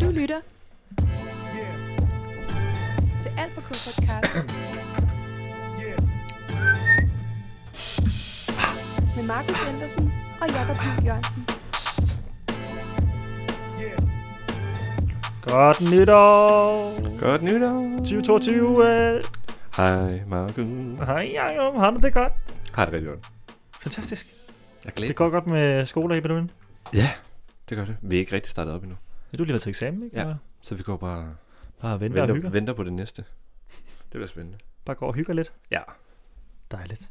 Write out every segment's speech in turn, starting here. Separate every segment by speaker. Speaker 1: lytter til Alt for K podcast med Markus Andersen og Jakob Høgh Jørgensen.
Speaker 2: Godt nytår!
Speaker 3: Godt nytår.
Speaker 2: 2022! Øh,
Speaker 3: Hej, Markus.
Speaker 2: hej Jacob, har du det godt?
Speaker 3: Har det rigtig godt.
Speaker 2: Fantastisk.
Speaker 3: Jeg er
Speaker 2: Det går godt med skoler i Bedouin.
Speaker 3: Ja, det gør det. Vi er ikke rigtig startet op endnu.
Speaker 2: Ja, du har lige været til eksamen, ikke?
Speaker 3: Ja.
Speaker 2: Eller
Speaker 3: Så vi går bare
Speaker 2: Bare venter og
Speaker 3: venter,
Speaker 2: hygger.
Speaker 3: venter på det næste. Det bliver spændende.
Speaker 2: Bare går og hygger lidt.
Speaker 3: Ja.
Speaker 2: Dejligt.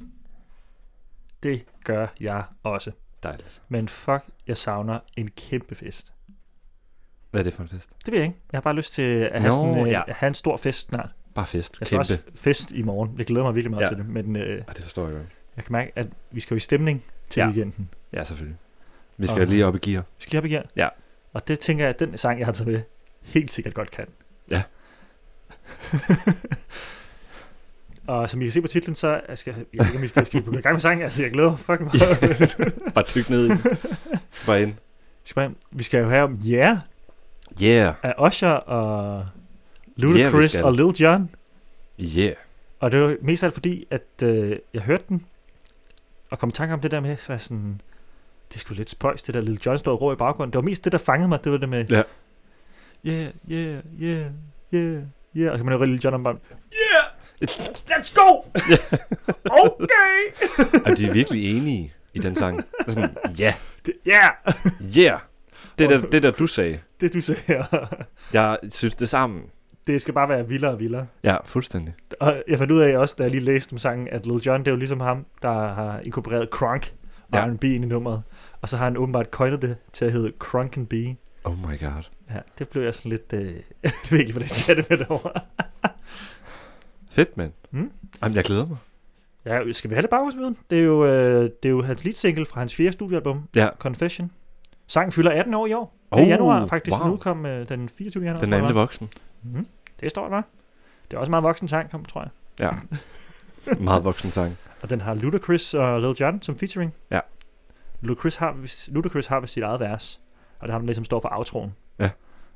Speaker 2: Det gør jeg også.
Speaker 3: Dejligt.
Speaker 2: Men fuck, jeg savner en kæmpe fest.
Speaker 3: Hvad er det for en fest?
Speaker 2: Det ved jeg ikke. Jeg har bare lyst til at have,
Speaker 3: Nå,
Speaker 2: sådan, øh,
Speaker 3: ja.
Speaker 2: at have en stor fest snart.
Speaker 3: Bare fest.
Speaker 2: Jeg skal
Speaker 3: Kæmpe.
Speaker 2: også f- fest i morgen. Jeg glæder mig virkelig meget
Speaker 3: Ja.
Speaker 2: til det. Men øh,
Speaker 3: Ej, det forstår jeg godt.
Speaker 2: jeg kan mærke, at vi skal jo i stemning til
Speaker 3: Ja.
Speaker 2: weekenden.
Speaker 3: Ja, selvfølgelig. Vi skal
Speaker 2: Og-
Speaker 3: lige op i gear.
Speaker 2: Vi skal lige op i gear.
Speaker 3: Ja.
Speaker 2: Og det tænker jeg, at den sang, jeg har taget med, helt sikkert godt kan.
Speaker 3: Ja.
Speaker 2: og som I kan se på titlen, så jeg skal jeg ved ikke, om vi skal, skal vi gå i gang med sangen. Altså, jeg glæder mig fucking meget.
Speaker 3: Bare dyk ned i den. Vi skal bare ind.
Speaker 2: Vi skal bare- vi skal jo have om Yeah
Speaker 3: Yeah.
Speaker 2: af Usher og Ludacris
Speaker 3: skal.
Speaker 2: yeah, og Lil Jon.
Speaker 3: Yeah.
Speaker 2: Og det var mest af alt fordi, at øh, jeg hørte den, og kom i tanke om det der med, så var jeg sådan, det skulle lidt spøjs, det der Lil Jon står og råber i baggrunden. Det var mest det, der fangede mig, det var det med,
Speaker 3: Ja.
Speaker 2: yeah, yeah, yeah, yeah, yeah. Og så kan man jo Lil Jon om bare,
Speaker 3: Let's go!
Speaker 2: okay,
Speaker 3: Og de er virkelig enige i den sang. Det er Sådan, ja, yeah.
Speaker 2: Det- yeah,
Speaker 3: yeah. Det der, det der, du sagde.
Speaker 2: det du ser,
Speaker 3: Jeg synes det sammen.
Speaker 2: det skal bare være vildere og vildere.
Speaker 3: Ja, fuldstændig.
Speaker 2: Og jeg fandt ud af også, da jeg lige læste om sangen, at Lil Jon, det er jo ligesom ham, der har inkorporeret crunk og
Speaker 3: Ja.
Speaker 2: ja. R&B ind i nummeret. Og så har han åbenbart coined det til at hedde Crunk and Bee.
Speaker 3: Oh my god.
Speaker 2: Ja, det blev jeg sådan lidt... Øh, det ved jeg ikke, hvordan jeg skal have det med derovre.
Speaker 3: Fedt, mand.
Speaker 2: Mm.
Speaker 3: Jamen, jeg glæder mig.
Speaker 2: Ja, skal vi have det baggrundsviden? Det er jo, øh, det er jo hans lead single fra hans fjerde studiealbum,
Speaker 3: Ja.
Speaker 2: Confession. Sangen fylder 18 år i år. Det er i
Speaker 3: Oh,
Speaker 2: januar faktisk.
Speaker 3: wow.
Speaker 2: Den udkom øh, den 24. januar.
Speaker 3: Den
Speaker 2: tror
Speaker 3: er
Speaker 2: jeg,
Speaker 3: endelig
Speaker 2: det
Speaker 3: voksen.
Speaker 2: var. Mhm. Det står der. Det er også en meget voksen sang, kom, tror jeg.
Speaker 3: Meget voksen sang.
Speaker 2: Og den har Ludacris og Lil Jon som featuring.
Speaker 3: Ja.
Speaker 2: Ludacris har, vist- Ludacris har vist sit eget vers, og det har han ligesom står for outroen.
Speaker 3: Ja.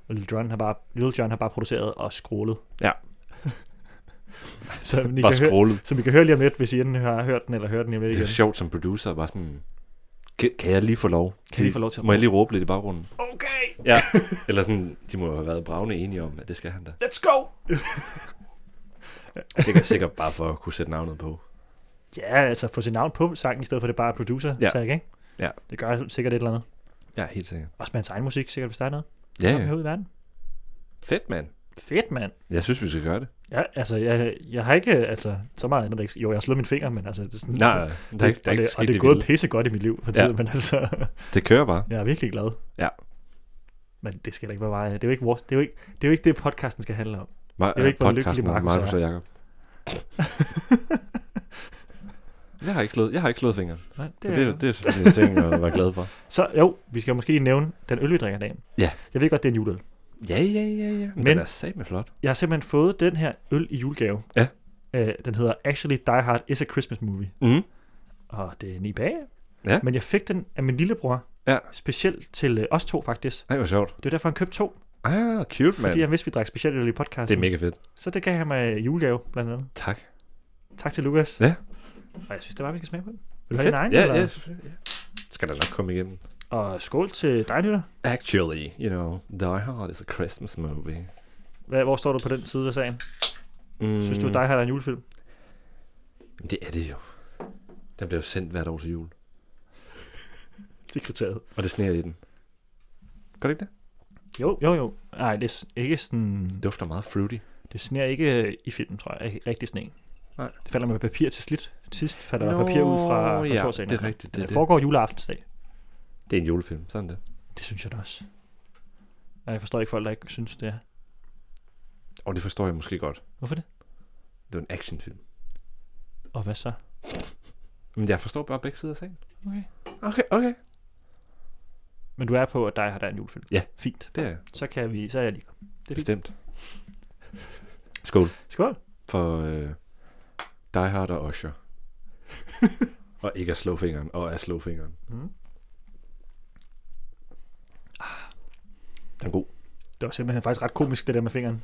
Speaker 2: Og Lil Jon har bare, Lil Jon har bare produceret og scrollet.
Speaker 3: Ja.
Speaker 2: så I
Speaker 3: Bare
Speaker 2: kan høre,
Speaker 3: scrollet.
Speaker 2: som I kan høre lige om lidt, hvis I enten har hørt den eller hørt den lige om lidt
Speaker 3: Det er
Speaker 2: igen.
Speaker 3: sjovt som producer, bare sådan... Kan, kan jeg lige få lov?
Speaker 2: Kan jeg lige få lov til at
Speaker 3: Må jeg lige råbe lidt i baggrunden?
Speaker 2: Okay,
Speaker 3: Ja. Eller sådan, de må jo have været bravende enige om, at det skal han da.
Speaker 2: let's go!
Speaker 3: Sikkert, sikkert bare for at kunne sætte navnet på.
Speaker 2: Ja, altså få sit navn på sangen, i stedet for at det bare er producer
Speaker 3: Ja.
Speaker 2: tag, ikke?
Speaker 3: Ja.
Speaker 2: Det gør sikkert et eller andet.
Speaker 3: Ja, helt sikkert.
Speaker 2: Også med hans egen musik, sikkert, hvis der er noget.
Speaker 3: Ja,
Speaker 2: Kom
Speaker 3: ja.
Speaker 2: ud i verden.
Speaker 3: Fedt, mand.
Speaker 2: Fedt, mand.
Speaker 3: Jeg synes, vi skal gøre det.
Speaker 2: Ja, altså, jeg, jeg har ikke, altså, så meget andet, der ikke- jo, jeg har slået mine fingre, men altså, det er sådan,
Speaker 3: Nej, der er ikke,
Speaker 2: og
Speaker 3: der er ikke
Speaker 2: det, og
Speaker 3: sket
Speaker 2: det er
Speaker 3: det,
Speaker 2: gået
Speaker 3: vilde.
Speaker 2: pisse godt i mit liv for
Speaker 3: Ja.
Speaker 2: tiden, ja. men altså,
Speaker 3: Det kører bare.
Speaker 2: jeg er virkelig glad.
Speaker 3: Ja.
Speaker 2: Men det skal heller ikke være mig. Det er jo ikke, vores, det, er jo ikke, det, er jo ikke det, podcasten skal handle om.
Speaker 3: Ma-
Speaker 2: ved ikke, hvor lykkelig
Speaker 3: podcasten om
Speaker 2: Markus
Speaker 3: Markus
Speaker 2: er.
Speaker 3: og Jacob. jeg har ikke slået, jeg har ikke slået fingeren.
Speaker 2: Nej,
Speaker 3: Det, det, er, det er selvfølgelig en ting at være glad for.
Speaker 2: Så jo, vi skal måske lige nævne den øl, vi drikker i dag.
Speaker 3: Ja.
Speaker 2: Jeg ved godt, det er en juleøl.
Speaker 3: Ja, ja, ja, ja. Men,
Speaker 2: Men-
Speaker 3: den er satme flot.
Speaker 2: Jeg har simpelthen fået den her øl i julegave.
Speaker 3: Ja.
Speaker 2: Øh, den hedder Actually Die Hard is a Christmas Movie.
Speaker 3: Mm.
Speaker 2: Og det er en IPA.
Speaker 3: Ja.
Speaker 2: Men jeg fik den af min lillebror.
Speaker 3: Ja.
Speaker 2: Specielt til øh, os to, faktisk.
Speaker 3: Ej, hvor sjovt.
Speaker 2: Det var derfor, han købte to.
Speaker 3: Ah, cute, mand.
Speaker 2: Fordi han vidste, vi drak specielt øl i podcasten.
Speaker 3: Det er mega fedt.
Speaker 2: Så det gav han mig i julegave, blandt andet.
Speaker 3: Tak.
Speaker 2: Tak til Lukas.
Speaker 3: Ja.
Speaker 2: Og jeg synes, det var, vi skal smage på den. Vil du have din egen?
Speaker 3: ja,
Speaker 2: eller?
Speaker 3: ja, selvfølgelig. Ja. Skal der nok komme igennem.
Speaker 2: Og skål til dig, Lytter.
Speaker 3: Actually, you know, Die Hard is a Christmas movie.
Speaker 2: Hvad, hvor står du på den side af sagen?
Speaker 3: Mm.
Speaker 2: Synes du, dig har en julefilm?
Speaker 3: Det er det jo. Den bliver jo sendt hvert år til jul.
Speaker 2: Det er kriteriet.
Speaker 3: Og det sneer i den. Gør det ikke det?
Speaker 2: Jo, jo, jo. Nej, det er s- ikke sådan...
Speaker 3: Det dufter meget fruity.
Speaker 2: Det sneer ikke øh, i filmen, tror jeg. Ikke rigtig sne.
Speaker 3: Nej.
Speaker 2: Det falder med papir til slidt. Sidst falder der
Speaker 3: Nå,
Speaker 2: papir ud fra, fra
Speaker 3: ja,
Speaker 2: torsdagen.
Speaker 3: det er rigtigt, det
Speaker 2: Men
Speaker 3: er
Speaker 2: det
Speaker 3: det.
Speaker 2: foregår juleaftensdag.
Speaker 3: Det er en julefilm, sådan det.
Speaker 2: Det synes jeg da også. Nej, jeg forstår ikke folk, der ikke synes, det er.
Speaker 3: Og det forstår jeg måske godt.
Speaker 2: Hvorfor det?
Speaker 3: Det er en actionfilm.
Speaker 2: Og hvad så?
Speaker 3: Men jeg forstår bare begge sider af sagen.
Speaker 2: Okay.
Speaker 3: Okay, okay.
Speaker 2: Men du er på, at dig har der er en julefilm?
Speaker 3: Ja.
Speaker 2: Fint.
Speaker 3: Det er jeg.
Speaker 2: Så kan vi, så er jeg lige. Det er fint.
Speaker 3: Bestemt. Skål.
Speaker 2: Skål.
Speaker 3: for øh, Die Hard og Usher. og ikke at slå fingeren, og at slå fingeren.
Speaker 2: Mm.
Speaker 3: Den er god.
Speaker 2: Det var simpelthen faktisk ret komisk, det der med fingeren.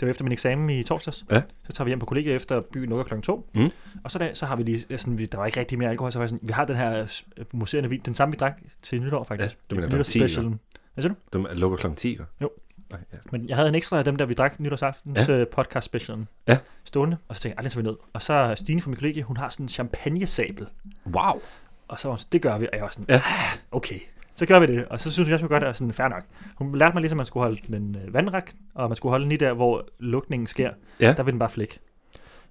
Speaker 2: Det var efter min eksamen i torsdags.
Speaker 3: Ja.
Speaker 2: Så tager vi hjem på kollegiet efter byen lukker klokken 2.
Speaker 3: Mm.
Speaker 2: Og så, der, så har vi lige, ja, sådan, vi, der var ikke rigtig mere alkohol, så var jeg sådan, vi har den her øh, s- museerne vin, den samme vi drak til nytår faktisk.
Speaker 3: Ja, det mener jeg, der er ti,
Speaker 2: special. Hvad siger du?
Speaker 3: De lukker klokken 10, eller?
Speaker 2: Jo.
Speaker 3: Nej, ja.
Speaker 2: Men jeg havde en ekstra af dem, der vi drak nytårsaftens ja. podcast specialen
Speaker 3: Ja.
Speaker 2: stående, og så tænkte jeg, "Ej, den tager vi ned. Og så Stine fra min kollega, hun har sådan en champagnesabel,
Speaker 3: Wow.
Speaker 2: og så var hun sådan, det gør vi, og jeg var sådan,
Speaker 3: Ja.
Speaker 2: ja. okay, så gør vi det. Og så synes jeg, jeg godt, det var sådan, fair nok. Hun lærte mig ligesom, at man skulle holde den øh, vandræk, og man skulle holde den lige der, hvor lukningen sker.
Speaker 3: Ja.
Speaker 2: Der vil den bare flække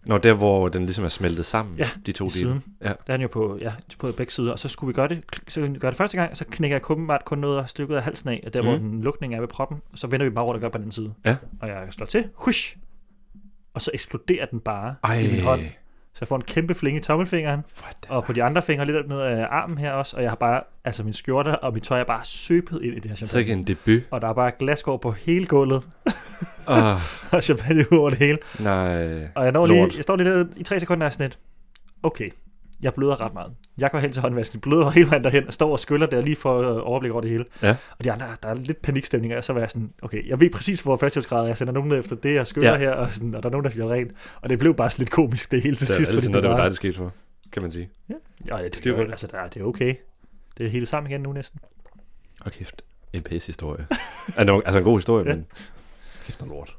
Speaker 3: Nå, der hvor den ligesom er smeltet sammen,
Speaker 2: Ja,
Speaker 3: de to
Speaker 2: i
Speaker 3: dele.
Speaker 2: siden.
Speaker 3: Ja.
Speaker 2: Der er den jo på, ja, på begge sider, og så skulle vi gøre det, kl- så gør det første gang, og så knækker jeg kun, bare kun noget af stykket af halsen af, og der mm. hvor
Speaker 3: Mhm.
Speaker 2: den lukning er ved proppen, og så vender vi den bare rundt og gør på den anden side.
Speaker 3: Ja.
Speaker 2: Og jeg slår til, hush, og så eksploderer den bare
Speaker 3: Ej,
Speaker 2: i min hånd. Så jeg får en kæmpe flinge i tommelfingeren,
Speaker 3: What
Speaker 2: og på de andre fingre lidt ned af armen her også, og jeg har bare, altså min skjorte og mit tøj er bare søbet ind i det her
Speaker 3: Så
Speaker 2: champagne.
Speaker 3: ikke en debut.
Speaker 2: Og der er bare glaskår på hele gulvet,
Speaker 3: Ah,
Speaker 2: og champagne ud over det hele.
Speaker 3: nej.
Speaker 2: Og jeg, når lige,
Speaker 3: Lort.
Speaker 2: jeg står lige der i tre sekunder og er sådan lidt, okay, jeg bløder ret meget. Jeg går hen til håndvasken, bløder hele vejen derhen, og står og skyller der lige for øh, overblik over det hele.
Speaker 3: Ja.
Speaker 2: Og de andre, der er lidt panikstemning, og så var jeg sådan, okay, jeg ved præcis, hvor førstehjælpsgrad er. Jeg sender nogen ned efter det, jeg skyller
Speaker 3: Ja.
Speaker 2: ja. her, og, sådan, og der er nogen, der skal gøre rent. Og det blev bare sådan lidt komisk det hele til
Speaker 3: Det er
Speaker 2: sidst.
Speaker 3: altid
Speaker 2: fordi
Speaker 3: noget, det var
Speaker 2: bare-
Speaker 3: dig, det skete for, kan man sige.
Speaker 2: Ja, ja, det,
Speaker 3: Styr
Speaker 2: det,
Speaker 3: på det.
Speaker 2: det. Altså, der, er- det er okay. Det er hele sammen igen nu næsten.
Speaker 3: Og kæft, en pisse-historie. altså, altså en god historie,
Speaker 2: Ja.
Speaker 3: men kæft noget lort.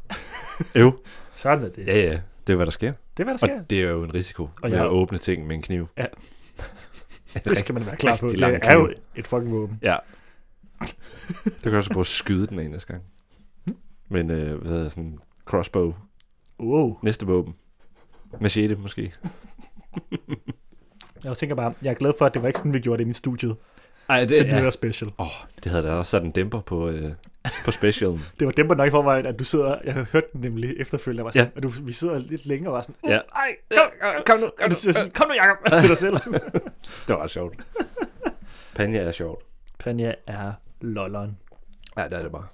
Speaker 3: Øv.
Speaker 2: Sådan er det.
Speaker 3: Ja, ja, det er, hvad der sker.
Speaker 2: Det er, hvad der
Speaker 3: Og
Speaker 2: sker.
Speaker 3: det er jo en risiko og ved
Speaker 2: jeg-
Speaker 3: at åbne ting med en kniv.
Speaker 2: Ja.
Speaker 3: det
Speaker 2: Det skal man være klar på.
Speaker 3: rigtig
Speaker 2: Det
Speaker 3: lang
Speaker 2: er jo
Speaker 3: kniv.
Speaker 2: et fucking våben.
Speaker 3: Ja. Det kan jeg også prøve at skyde den en næste gang. Men øh, hvad hedder sådan crossbow.
Speaker 2: Wow.
Speaker 3: Næste våben. Machete måske.
Speaker 2: Jeg tænker bare, jeg er glad for, at det var ikke sådan, vi gjorde det inde i studiet.
Speaker 3: Ej,
Speaker 2: Det, til ja. special.
Speaker 3: det havde da også sat en dæmper på, øh, på specialen.
Speaker 2: Det var dæmper nok i forvejen, at du sidder, jeg hørte den nemlig efterfølgende, jeg var sådan,
Speaker 3: Ja.
Speaker 2: ja. og du, vi sidder lidt længere og var sådan, uh,
Speaker 3: Ja.
Speaker 2: ja. ej, kom,
Speaker 3: Kom nu,
Speaker 2: og du siger sådan, kom nu Jacob, til dig selv.
Speaker 3: Det var sjovt. Panja er sjovt.
Speaker 2: Panja er lolleren.
Speaker 3: Ja, det er det bare.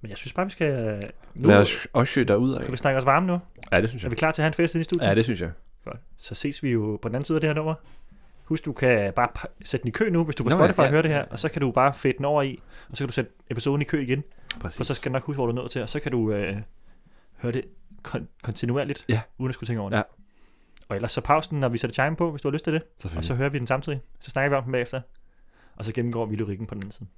Speaker 2: Men jeg synes bare, vi skal, øh, nu,
Speaker 3: Lad os også søge derudad.
Speaker 2: kan vi snakke os varme nu?
Speaker 3: Ja, det synes
Speaker 2: Er
Speaker 3: jeg.
Speaker 2: vi klar til at have en fest inde i studiet?
Speaker 3: Ja, det synes jeg.
Speaker 2: Godt. Så ses vi jo på den anden side af det her nummer. Husk, du kan bare p- sætte den i kø nu, hvis du på
Speaker 3: Nå,
Speaker 2: Spotify
Speaker 3: ja,
Speaker 2: ja,
Speaker 3: ja.
Speaker 2: hører det her, og så kan du bare fedte den over i, og så kan du sætte episoden i kø igen,
Speaker 3: Præcis.
Speaker 2: for så skal den nok huske, hvor du er nået til, og så kan du øh, høre det kon- kontinuerligt,
Speaker 3: Ja.
Speaker 2: uden at skulle tænke over det.
Speaker 3: Ja.
Speaker 2: Og ellers så pause den, når vi sætter chime på, hvis du har lyst til det, og så
Speaker 3: Selvfølgelig.
Speaker 2: hører vi den samtidig. Så snakker vi om den bagefter, og så gennemgår vi lyrikken på den anden side.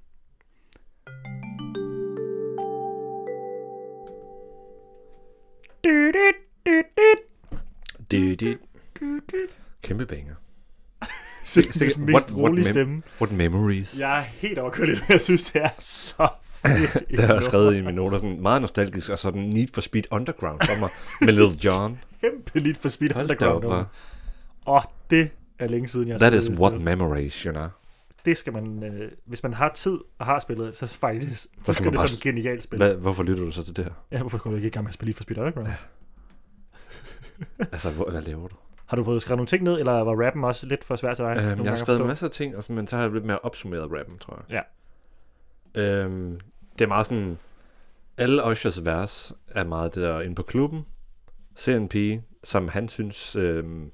Speaker 2: Du, du, du, du.
Speaker 3: Det, det. Kæmpe banger.
Speaker 2: Sikkert
Speaker 3: Sikkert-
Speaker 2: den mest
Speaker 3: what- what
Speaker 2: rolige
Speaker 3: mem-
Speaker 2: stemme.
Speaker 3: What memories.
Speaker 2: Jeg er helt overkørt i det, jeg synes, det er så fedt.
Speaker 3: Det har jeg skrevet i mine noter, sådan meget nostalgisk, og sådan Need for Speed Underground for mig, med Little John.
Speaker 2: Kæmpe lidt for Speed
Speaker 3: Hold da op,
Speaker 2: Underground.
Speaker 3: hva'?
Speaker 2: Og det er længe siden, jeg har
Speaker 3: That is
Speaker 2: spillet
Speaker 3: what
Speaker 2: det.
Speaker 3: memories, you know.
Speaker 2: Det skal man, øh, hvis man har tid og har spillet, så faktisk, så
Speaker 3: man
Speaker 2: skal det
Speaker 3: bare
Speaker 2: som et genialt spil.
Speaker 3: Hvad, hvorfor lytter du så til det her?
Speaker 2: Ja, hvorfor går du ikke i gang med at spille lidt for Speed Underground?
Speaker 3: Altså, hvor, hvad laver du?
Speaker 2: Har du fået skrevet nogle ting ned, eller var rappen også lidt for svær til dig? nogle
Speaker 3: Øhm, jeg
Speaker 2: gange
Speaker 3: har
Speaker 2: at
Speaker 3: skrevet
Speaker 2: forstå?
Speaker 3: en masse af ting, og sådan, men så har jeg lidt mere opsummeret rappen, tror jeg.
Speaker 2: Ja.
Speaker 3: Øhm, det er meget sådan... Alle Oshers vers er meget det der inde på klubben. Ser en pige, som han synes øhm,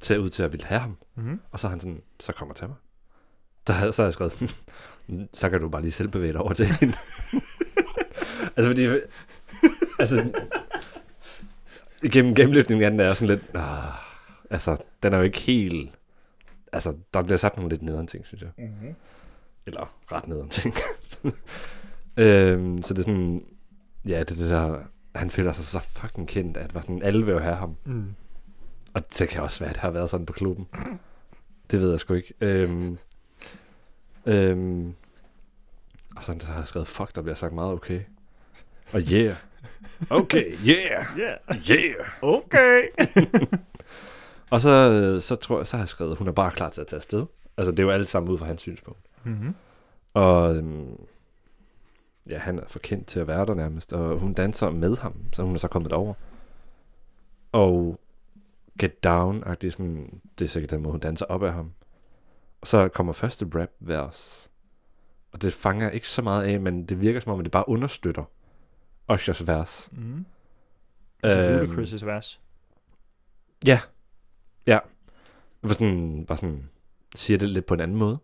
Speaker 3: ser ud til at ville have ham.
Speaker 2: Mhm.
Speaker 3: Og så er han sådan, så kommer til mig. Der, har- så har jeg skrevet sådan, så kan du bare lige selv bevæge dig over til hende. altså fordi, altså, gennem gennemlytningen af den er sådan lidt, ah, altså, den er jo ikke helt, altså, der bliver sagt nogle lidt nederen ting, synes jeg.
Speaker 2: Mhm.
Speaker 3: Eller ret nederen ting. øhm, så det er sådan, ja, det er det der, han føler sig så fucking kendt, at var sådan, alle vil jo have ham.
Speaker 2: Mm.
Speaker 3: Og det kan også være, at det har været sådan på klubben. Det ved jeg sgu ikke. Øhm, øhm, og sådan, der har jeg skrevet, fuck, der bliver sagt meget okay. Og yeah. Okay, yeah,
Speaker 2: Yeah.
Speaker 3: yeah.
Speaker 2: Okay.
Speaker 3: Og så, øh, så tror jeg, så har jeg skrevet, hun er bare klar til at tage afsted. Altså, det er jo alt sammen ud fra hans synspunkt.
Speaker 2: mm-hmm.
Speaker 3: Og øhm, ja, han er for kendt til at være der nærmest, og hun danser med ham, så hun er så kommet over. Og Get Down, det er, sådan, det er sikkert den måde, hun danser op af ham. Og så kommer første rap vers, og det fanger jeg ikke så meget af, men det virker som om, at det bare understøtter Oshers vers.
Speaker 2: Mm. Så
Speaker 3: Øhm,
Speaker 2: Altså, Ludacris' vers.
Speaker 3: Hvor sådan, bare sådan, siger det lidt på en anden måde.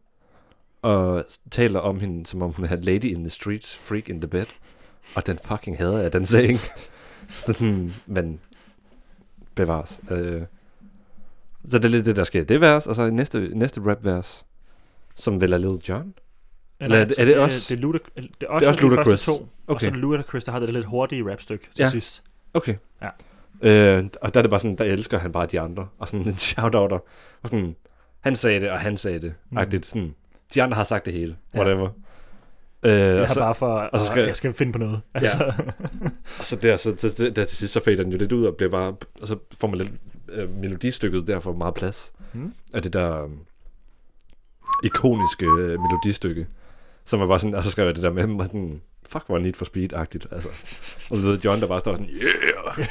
Speaker 3: og taler om hende, som om hun er lady in the streets, freak in the bed. Og den fucking hader jeg, den saying. Sådan, men bevares. Øh. Så det er lidt det, der sker i det vers, og så i næste, næste rap-vers, som vel er Lil Jon. Eller er det- er det også-
Speaker 2: Det er, Ludac- det er også,
Speaker 3: også
Speaker 2: de første
Speaker 3: Ludacris.
Speaker 2: To, okay. Og så
Speaker 3: Okay.
Speaker 2: er det Ludacris, der har det lidt hurtige rapstykke til
Speaker 3: Ja.
Speaker 2: sidst.
Speaker 3: Okay.
Speaker 2: Ja.
Speaker 3: Øh, og der er det bare sådan, der elsker han bare de andre. Og sådan en shout-outer. Og sådan, han sagde det, og han sagde det.
Speaker 2: Mm.
Speaker 3: Mm. Agtigt, sådan, de andre har sagt det hele.
Speaker 2: Ja.
Speaker 3: Whatever. Øh,
Speaker 2: Jeg
Speaker 3: og,
Speaker 2: har
Speaker 3: så,
Speaker 2: bare for,
Speaker 3: og
Speaker 2: og
Speaker 3: så
Speaker 2: så
Speaker 3: skal-
Speaker 2: jeg skal finde på noget. Altså,
Speaker 3: Ja. og så der, så, der, der, der til sidst, så fader den jo lidt ud, og, bliver bare, og så får man lidt øh, melodistykket der for meget plads.
Speaker 2: Mm.
Speaker 3: Mm. Og det der øh, ikoniske øh, melodistykke, som var bare sådan, og så skrev jeg det der med, hvor sådan, fuck, hvor er Need for Speed-agtigt. Altså. Og så ved John, der bare står sådan, yeah!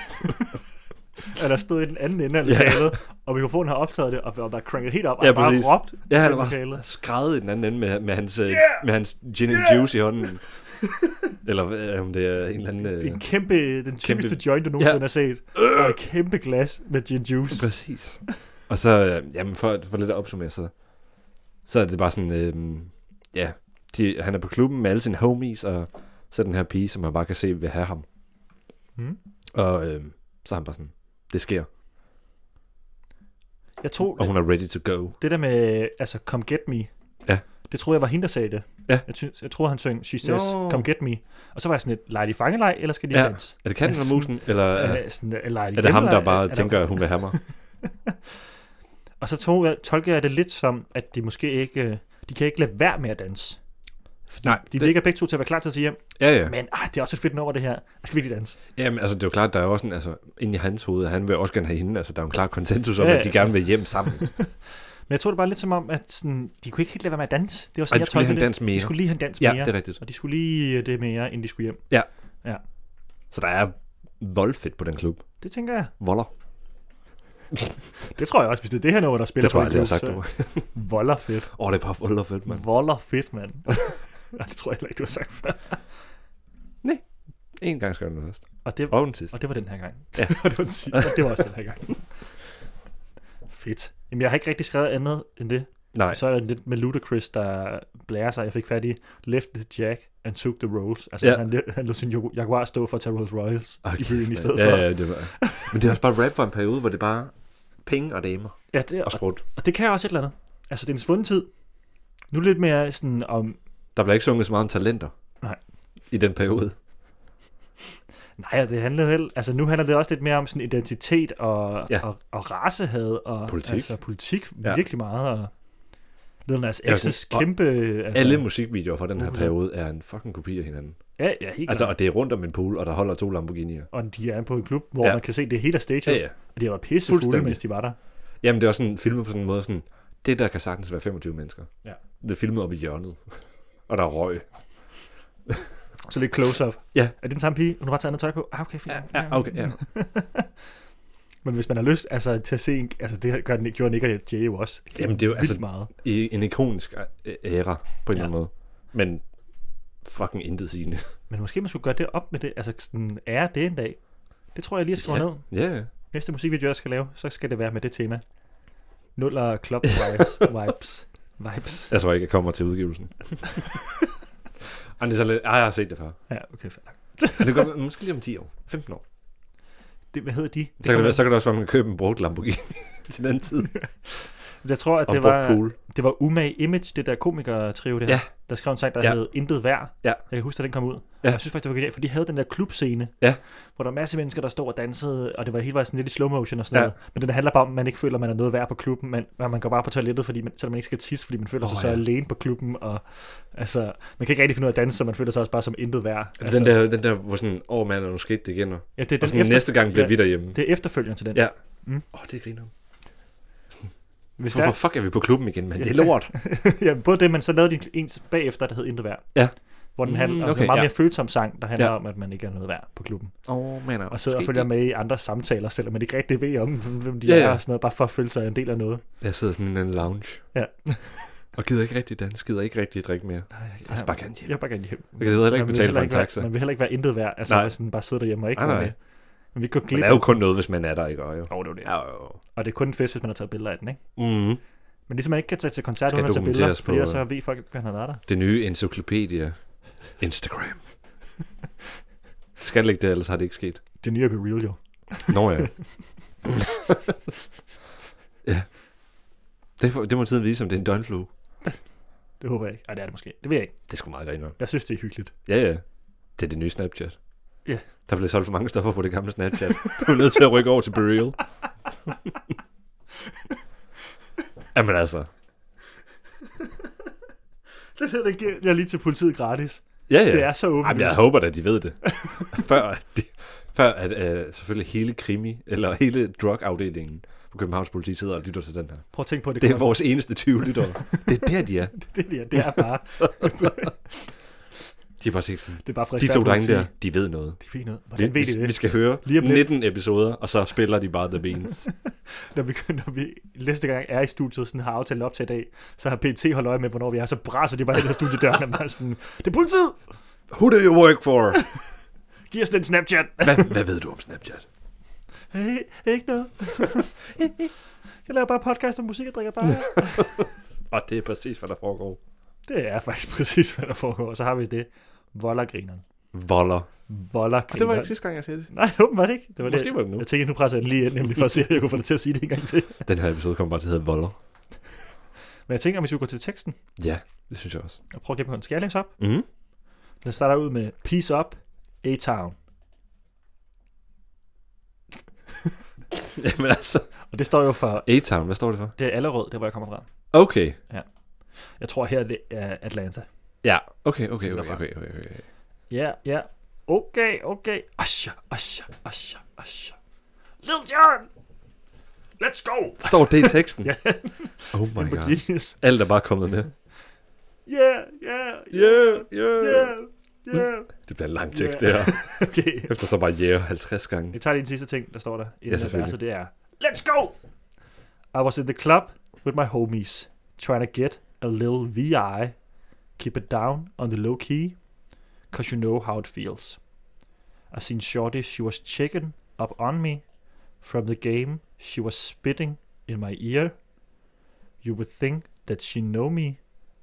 Speaker 2: Og der stod i den anden ende af
Speaker 3: Ja.
Speaker 2: lokalet, og mikrofonen har optaget det, og var bare cranket helt op, og
Speaker 3: Ja,
Speaker 2: bare
Speaker 3: præcis.
Speaker 2: råbt.
Speaker 3: Ja, han
Speaker 2: i
Speaker 3: var
Speaker 2: lokalet.
Speaker 3: skrevet i den anden ende med, med, hans, yeah!
Speaker 2: Yeah!
Speaker 3: med hans gin and
Speaker 2: Yeah!
Speaker 3: juice i hånden. Eller øh, om det er en eller anden... Øh,
Speaker 2: En kæmpe, den tykkeste
Speaker 3: Kæmpe- Øh!
Speaker 2: joint, du nogensinde har set. Og et kæmpe glas med gin juice.
Speaker 3: præcis. Og så, øh, jamen for, for lidt at opsummere, så, så er det bare sådan, øh, ja, de, han er på klubben med alle sine homies, og så er den her pige, som man bare kan se vil have ham.
Speaker 2: Mm.
Speaker 3: Og øh, så er han bare sådan, det sker.
Speaker 2: Jeg tror,
Speaker 3: Og hun er ready to go.
Speaker 2: det der med, altså, come get me.
Speaker 3: Ja.
Speaker 2: Det troede jeg var hende, der sagde det.
Speaker 3: Ja.
Speaker 2: Jeg, synes, jeg troede, han syng, she says,
Speaker 3: Nå.
Speaker 2: come get me. Og så var jeg sådan lidt, leger de fangelej, eller skal de
Speaker 3: Ja.
Speaker 2: danse?
Speaker 3: Er det katten eller
Speaker 2: Sådan-
Speaker 3: musen, eller er,
Speaker 2: Altså, Øh, sådan, eller er, de
Speaker 3: er det ham,
Speaker 2: hjemme,
Speaker 3: der
Speaker 2: eller-
Speaker 3: bare
Speaker 2: er der-
Speaker 3: tænker, at hun vil have mig?
Speaker 2: Og så tog jeg, tolker jeg det lidt som, at de måske ikke... øh, De kan ikke lade være med at danse. Fordi
Speaker 3: Nej,
Speaker 2: de
Speaker 3: det-
Speaker 2: ligger begge to til at være klar til at tage hjem.
Speaker 3: Ja, ja.
Speaker 2: Men ah, det er også et fedt nummer, det her. Jeg skal virkelig danse.
Speaker 3: Jamen, altså, det er jo klart, der er jo også en, altså, inde i hans hoved, at han vil også gerne have hende. Altså, der er jo en klar konsensus om,
Speaker 2: Ja,
Speaker 3: ja,
Speaker 2: ja.
Speaker 3: at de gerne vil hjem sammen.
Speaker 2: Men jeg tror det bare lidt som om, at sådan, de kunne ikke helt lade være med at danse. Det var
Speaker 3: Og
Speaker 2: sådan,
Speaker 3: de
Speaker 2: jeg
Speaker 3: skulle lige
Speaker 2: tolkede
Speaker 3: have en
Speaker 2: det.
Speaker 3: dans mere.
Speaker 2: De skulle lige have en dans
Speaker 3: Ja,
Speaker 2: mere.
Speaker 3: det er rigtigt.
Speaker 2: Og de skulle lige øh, det mere, inden de skulle hjem.
Speaker 3: Så der er voldfedt på den klub.
Speaker 2: Det tænker jeg.
Speaker 3: Voller.
Speaker 2: Det tror jeg også, hvis det er det her nummer, der spiller
Speaker 3: Det tror
Speaker 2: på
Speaker 3: jeg, det har sagt nu.
Speaker 2: klub, så volder fedt.
Speaker 3: Åh, det er bare volderfedt, mand.
Speaker 2: Volder fedt, mand. Nej, det tror jeg heller ikke, du har sagt før.
Speaker 3: En gang skal den først.
Speaker 2: Og det,
Speaker 3: Og den sidste.
Speaker 2: Og det var den her gang.
Speaker 3: Ja.
Speaker 2: og det var den sidste, og det var også den her gang. Fedt. Jamen, jeg har ikke rigtig skrevet andet end det.
Speaker 3: Nej,
Speaker 2: Så er der lidt med Ludacris, der blærer sig. Jeg fik fat i Left the Jack and took the Rolls. Altså, ja.
Speaker 3: Ja.
Speaker 2: han, han lod sin jo- Jaguar stå for at tage Rolls Royals
Speaker 3: Åh,
Speaker 2: okay, i
Speaker 3: kæft,
Speaker 2: byen i
Speaker 3: mand.
Speaker 2: stedet
Speaker 3: ja,
Speaker 2: for.
Speaker 3: Ja, det var... Men det er også bare rap for en periode, hvor det er bare penge og damer
Speaker 2: ja det,
Speaker 3: og
Speaker 2: og,
Speaker 3: sprut.
Speaker 2: og det kan også et eller andet. Altså, det er en svunden tid. Nu er det lidt mere sådan om...
Speaker 3: Der bliver ikke sunget så meget om talenter.
Speaker 2: Nej. Altså-
Speaker 3: I den periode.
Speaker 2: Nej, det handlede heller... Altså, nu handler det også lidt mere om sådan identitet og, ja.
Speaker 3: Ja.
Speaker 2: og, og racehad og...
Speaker 3: Politik.
Speaker 2: Altså, politik
Speaker 3: Ja.
Speaker 2: virkelig meget. Og Lil Nas
Speaker 3: Ja, sådan-
Speaker 2: X's
Speaker 3: og
Speaker 2: kæmpe... Altså,
Speaker 3: Alle musikvideoer fra den her
Speaker 2: Hundrede.
Speaker 3: periode er en fucking kopi af hinanden.
Speaker 2: Ja, ja, helt
Speaker 3: Altså,
Speaker 2: altså,
Speaker 3: og det er rundt om en pool, og der holder to Lamborghinier.
Speaker 2: Og de er på en klub, hvor ja.
Speaker 3: Ja.
Speaker 2: man kan se det hele af stage.
Speaker 3: Ja,
Speaker 2: Ja, ja.
Speaker 3: ja.
Speaker 2: Og de har været pissefulde,
Speaker 3: Fuldstændig.
Speaker 2: mens de var der.
Speaker 3: Jamen, det er også sådan filmet på sådan en måde, sådan, det der kan sagtens være 25 mennesker.
Speaker 2: Ja.
Speaker 3: Det er filmet op i hjørnet. og der er røg.
Speaker 2: Så lidt close-up.
Speaker 3: Ja.
Speaker 2: Er det den samme pige? Hun har bare taget andet tøj på. Ah, okay, fint.
Speaker 3: okay, ja.
Speaker 2: Men hvis man har lyst altså, til at se en... Altså, det gør den, gjorde Nick og Jay jo også. helt
Speaker 3: Jamen, det er jo
Speaker 2: vildt
Speaker 3: altså-
Speaker 2: meget.
Speaker 3: I en ikonisk æ- æra, på en
Speaker 2: Ja.
Speaker 3: ja. eller anden måde. Men fucking intet sigende.
Speaker 2: Men måske man skulle gøre det op med det. Altså, sådan, er det en dag? Det tror jeg lige, jeg skriver ned.
Speaker 3: Ja, ja.
Speaker 2: Næste musikvideo, jeg skal lave, så skal det være med det tema. Nuller club vibes. vibes. Vibes.
Speaker 3: Jeg tror ikke, jeg kommer til udgivelsen. Ej, det er så lidt, ej, jeg har set det før.
Speaker 2: Ja, okay, fair nok.
Speaker 3: Men det går, måske lige om 10 år. 15 år.
Speaker 2: Det, hvad hedder de? Det
Speaker 3: Så kan, det,
Speaker 2: kommer-
Speaker 3: være- så kan det også være, at man kan købe en brugt Lamborghini til den tid.
Speaker 2: Jeg tror, at
Speaker 3: Og
Speaker 2: det
Speaker 3: en
Speaker 2: var...
Speaker 3: brugt pool.
Speaker 2: Det var Umage Image, det der komikertrio der,
Speaker 3: Ja.
Speaker 2: der skrev en sang, der ja.
Speaker 3: Ja.
Speaker 2: hed Intet Værd.
Speaker 3: Ja.
Speaker 2: Jeg kan huske, at den kom ud. Ja.
Speaker 3: Ja.
Speaker 2: Jeg synes faktisk, det var genialt, for de havde den der klubscene,
Speaker 3: Ja.
Speaker 2: hvor der var masse mennesker, der stod og dansede, og det var hele vejen sådan lidt i slow motion og sådan
Speaker 3: Ja.
Speaker 2: noget. Men den handler bare om, at man ikke føler, at man er noget værd på klubben, men men man går bare på toilettet, fordi man, selvom man ikke skal tisse, fordi man føler oh,
Speaker 3: Åh,
Speaker 2: sig så
Speaker 3: ja.
Speaker 2: alene på klubben. Og, altså, man kan ikke rigtig finde ud af at danse, så man føler sig også bare som intet værd. Altså,
Speaker 3: Den der, den der, hvor sådan, åh oh, mand, er nu skete det igen. Og,
Speaker 2: ja, det, er
Speaker 3: og
Speaker 2: den
Speaker 3: sådan,
Speaker 2: efter,
Speaker 3: næste gang bliver
Speaker 2: ja, Mm.
Speaker 3: vi derhjemme.
Speaker 2: Det er efterfølgeren til den.
Speaker 3: Ja. Åh, oh, det griner
Speaker 2: Hvis der,
Speaker 3: Hvorfor fuck er vi på klubben igen, mand? Det er lort.
Speaker 2: ja, både det, men så lavede de en bagefter, der hed Intet Værd.
Speaker 3: Ja.
Speaker 2: Hvor den
Speaker 3: Mm,
Speaker 2: handler, altså, det er
Speaker 3: okay,
Speaker 2: meget
Speaker 3: ja.
Speaker 2: mere følsom sang, der handler ja.
Speaker 3: Ja.
Speaker 2: om, at man ikke er noget værd på klubben.
Speaker 3: Åh, man.
Speaker 2: Og sidder og følger med i andre samtaler, selvom man ikke rigtig ved om, hvem de
Speaker 3: Ja,
Speaker 2: ja,
Speaker 3: ja.
Speaker 2: er og sådan noget, bare for at føle sig en del af noget.
Speaker 3: Jeg sidder sådan i en anden lounge.
Speaker 2: Ja.
Speaker 3: og gider ikke rigtig danse, gider ikke rigtig drikke mere.
Speaker 2: Nej, jeg,
Speaker 3: Faktisk bare gerne hjem.
Speaker 2: jeg vil bare gerne hjem.
Speaker 3: Jeg gider heller
Speaker 2: Man
Speaker 3: ikke
Speaker 2: vil
Speaker 3: betale for
Speaker 2: heller
Speaker 3: en taxa.
Speaker 2: Være, man vil heller ikke være intet værd, altså
Speaker 3: Nej.
Speaker 2: nej. sådan bare sidde derhjemme og ikke
Speaker 3: Nej,
Speaker 2: være
Speaker 3: nej.
Speaker 2: med. Men vi går
Speaker 3: Men
Speaker 2: glip
Speaker 3: det er jo kun noget, hvis man er der, ikke? Og, jo.
Speaker 2: af- Åh, det var det.
Speaker 3: Ja, jo.
Speaker 2: Og det er kun en fest, hvis man har taget billeder af den, ikke?
Speaker 3: Mm.
Speaker 2: Men ligesom man ikke kan tage til koncert,
Speaker 3: Skal
Speaker 2: uden at tage billeder,
Speaker 3: dokumenteres
Speaker 2: for
Speaker 3: på,
Speaker 2: ellers
Speaker 3: øh,
Speaker 2: så ved folk ikke, at han har været der.
Speaker 3: Det nye encyklopædia. Instagram. Skal det ligge der, ellers har det ikke sket.
Speaker 2: Det nye er Be real, jo.
Speaker 3: Nå ja. ja. Det, får- det må tiden vise, om det er en døgnflue.
Speaker 2: Det håber jeg ikke. Ej, det er det måske. Det ved jeg ikke.
Speaker 3: Det er sgu meget griner.
Speaker 2: Jeg synes, det er hyggeligt.
Speaker 3: Ja, ja. Det er det nye Snapchat.
Speaker 2: Ja.
Speaker 3: Der blev solgt for mange stoffer på det gamle Snapchat. du er nødt til at rykke over til Burial. Jamen altså.
Speaker 2: Det der, den giver jeg lige til politiet gratis.
Speaker 3: Ja,
Speaker 2: Ja.
Speaker 3: ja.
Speaker 2: Det er så åbent.
Speaker 3: Jamen, jeg håber da, de ved det. før, at de, før at øh, selvfølgelig hele krimi, eller hele drugafdelingen på Københavns Politi sidder og lytter til den her.
Speaker 2: Prøv at tænke på, at det,
Speaker 3: Det er
Speaker 2: kommer-
Speaker 3: vores eneste 20 lyttere. Det er der, de er.
Speaker 2: det, der, det er bare...
Speaker 3: De er bare set sådan.
Speaker 2: Det er bare fra
Speaker 3: De to
Speaker 2: Ekspertpoliti.
Speaker 3: drenge der, de ved noget.
Speaker 2: De ved noget. Hvordan ved de
Speaker 3: Vi
Speaker 2: det?
Speaker 3: skal høre
Speaker 2: Lige om lidt.
Speaker 3: 19 episoder, og så spiller de bare The Beans.
Speaker 2: Når vi, når vi næste gang er i studiet og sådan har aftalt op til i dag, så har PT holdt øje med, hvornår vi er, så braser de bare ind ad studiedøren og bare sådan, det er politiet!
Speaker 3: Who do you work for?
Speaker 2: Giv os den Snapchat!
Speaker 3: Hvad, hvad ved du om Snapchat?
Speaker 2: Hey, ikke noget. jeg laver bare podcast og musik og drikker bare.
Speaker 3: Og det er præcis, hvad der foregår.
Speaker 2: det er faktisk præcis, hvad der foregår. Så har vi det. Vollergrineren.
Speaker 3: Voller. Og
Speaker 2: Vollergrineren.
Speaker 3: det var ikke sidste gang, jeg sagde det.
Speaker 2: Nej, åbenbart ikke. Det var
Speaker 3: Måske
Speaker 2: det.
Speaker 3: var det nu.
Speaker 2: Jeg tænkte, nu presser jeg den lige ind, nemlig for at se, at jeg kunne få dig til at sige det en gang til.
Speaker 3: Den her episode kommer bare til at hedde Voller.
Speaker 2: Men jeg tænker, om vi skulle gå til teksten
Speaker 3: Ja, det synes jeg også.
Speaker 2: og prøve at gennemgå den. Skal jeg læse op?
Speaker 3: Mm.
Speaker 2: Den starter ud med Peace Up, A-Town.
Speaker 3: Jamen altså.
Speaker 2: Og det står jo for,
Speaker 3: A-Town, hvad står det for?
Speaker 2: det er Allerød, der hvor jeg kommer fra.
Speaker 3: Okay.
Speaker 2: Jeg tror her det er Atlanta.
Speaker 3: Ja, okay, okay, okay,
Speaker 2: Derfra.
Speaker 3: okay, okay, okay.
Speaker 2: Ja, ja. Okay, okay. Asha, asha, asha, asha. Lil Jon! Let's go!
Speaker 3: Står det i teksten?
Speaker 2: Ja.
Speaker 3: Oh my
Speaker 2: Lamborghinis.
Speaker 3: god. Alt er bare kommet med.
Speaker 2: Yeah, yeah,
Speaker 3: Yeah, yeah.
Speaker 2: yeah, yeah.
Speaker 3: Det bliver en lang tekst,
Speaker 2: Yeah.
Speaker 3: det her.
Speaker 2: Okay.
Speaker 3: Efter så bare yeah 50 gange.
Speaker 2: Jeg tager lige en sidste ting, der står der i
Speaker 3: Ja,
Speaker 2: den her
Speaker 3: selvfølgelig.
Speaker 2: verse, det er Let's go! I was in the club with my homies, trying to get a little VI, keep it down on the low key, cause you know how it feels. I seen Shorty, she was checking up on me, from the game, she was spitting in my ear. You would think that she know me,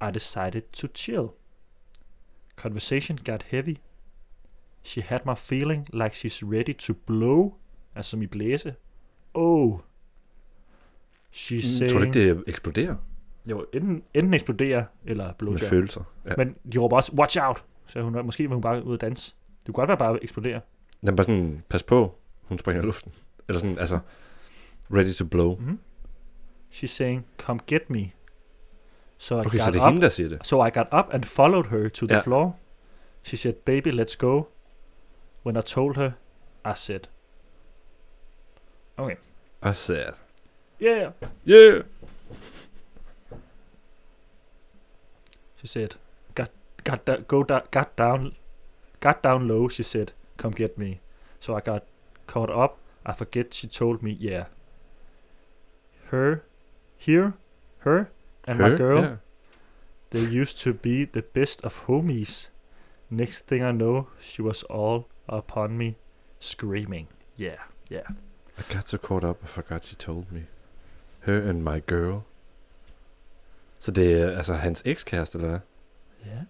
Speaker 2: I decided to chill. Conversation got heavy, She had my feeling like she's ready to blow. Altså som i blæse. Oh. She's saying...
Speaker 3: Mm, Tror du ikke, det eksploderer
Speaker 2: Jo, enten, enten eksploderer, eller
Speaker 3: med
Speaker 2: blowjob.
Speaker 3: følelser? Ja.
Speaker 2: Men de råber også, watch out! Så hun, måske var hun bare ude at danse. Det kunne godt være bare at eksplodere.
Speaker 3: Jamen bare sådan, pas på, hun springer i luften. Eller sådan, altså, ready to blow.
Speaker 2: Mm-hmm. She's saying, come get me. So I
Speaker 3: Okay,
Speaker 2: got
Speaker 3: så det er
Speaker 2: up.
Speaker 3: hende, der siger det.
Speaker 2: So I got up and followed her to the
Speaker 3: Ja.
Speaker 2: floor. She said, baby, let's go. When I told her, I said,
Speaker 3: Og sad.
Speaker 2: yeah.
Speaker 3: Yeah!
Speaker 2: She said, "Got, got, da- go, da- got down, got down low." She said, "Come get me." So I got caught up. I forget she told me, yeah. Her, here, her, and my girl.
Speaker 3: Ja.
Speaker 2: They used to be the best of homies. Next thing I know, she was all upon me, screaming, yeah, yeah.
Speaker 3: I got so caught up, I forgot she told me. Her and my girl. Så det er altså hans ekskæreste, eller hvad?
Speaker 2: Yeah.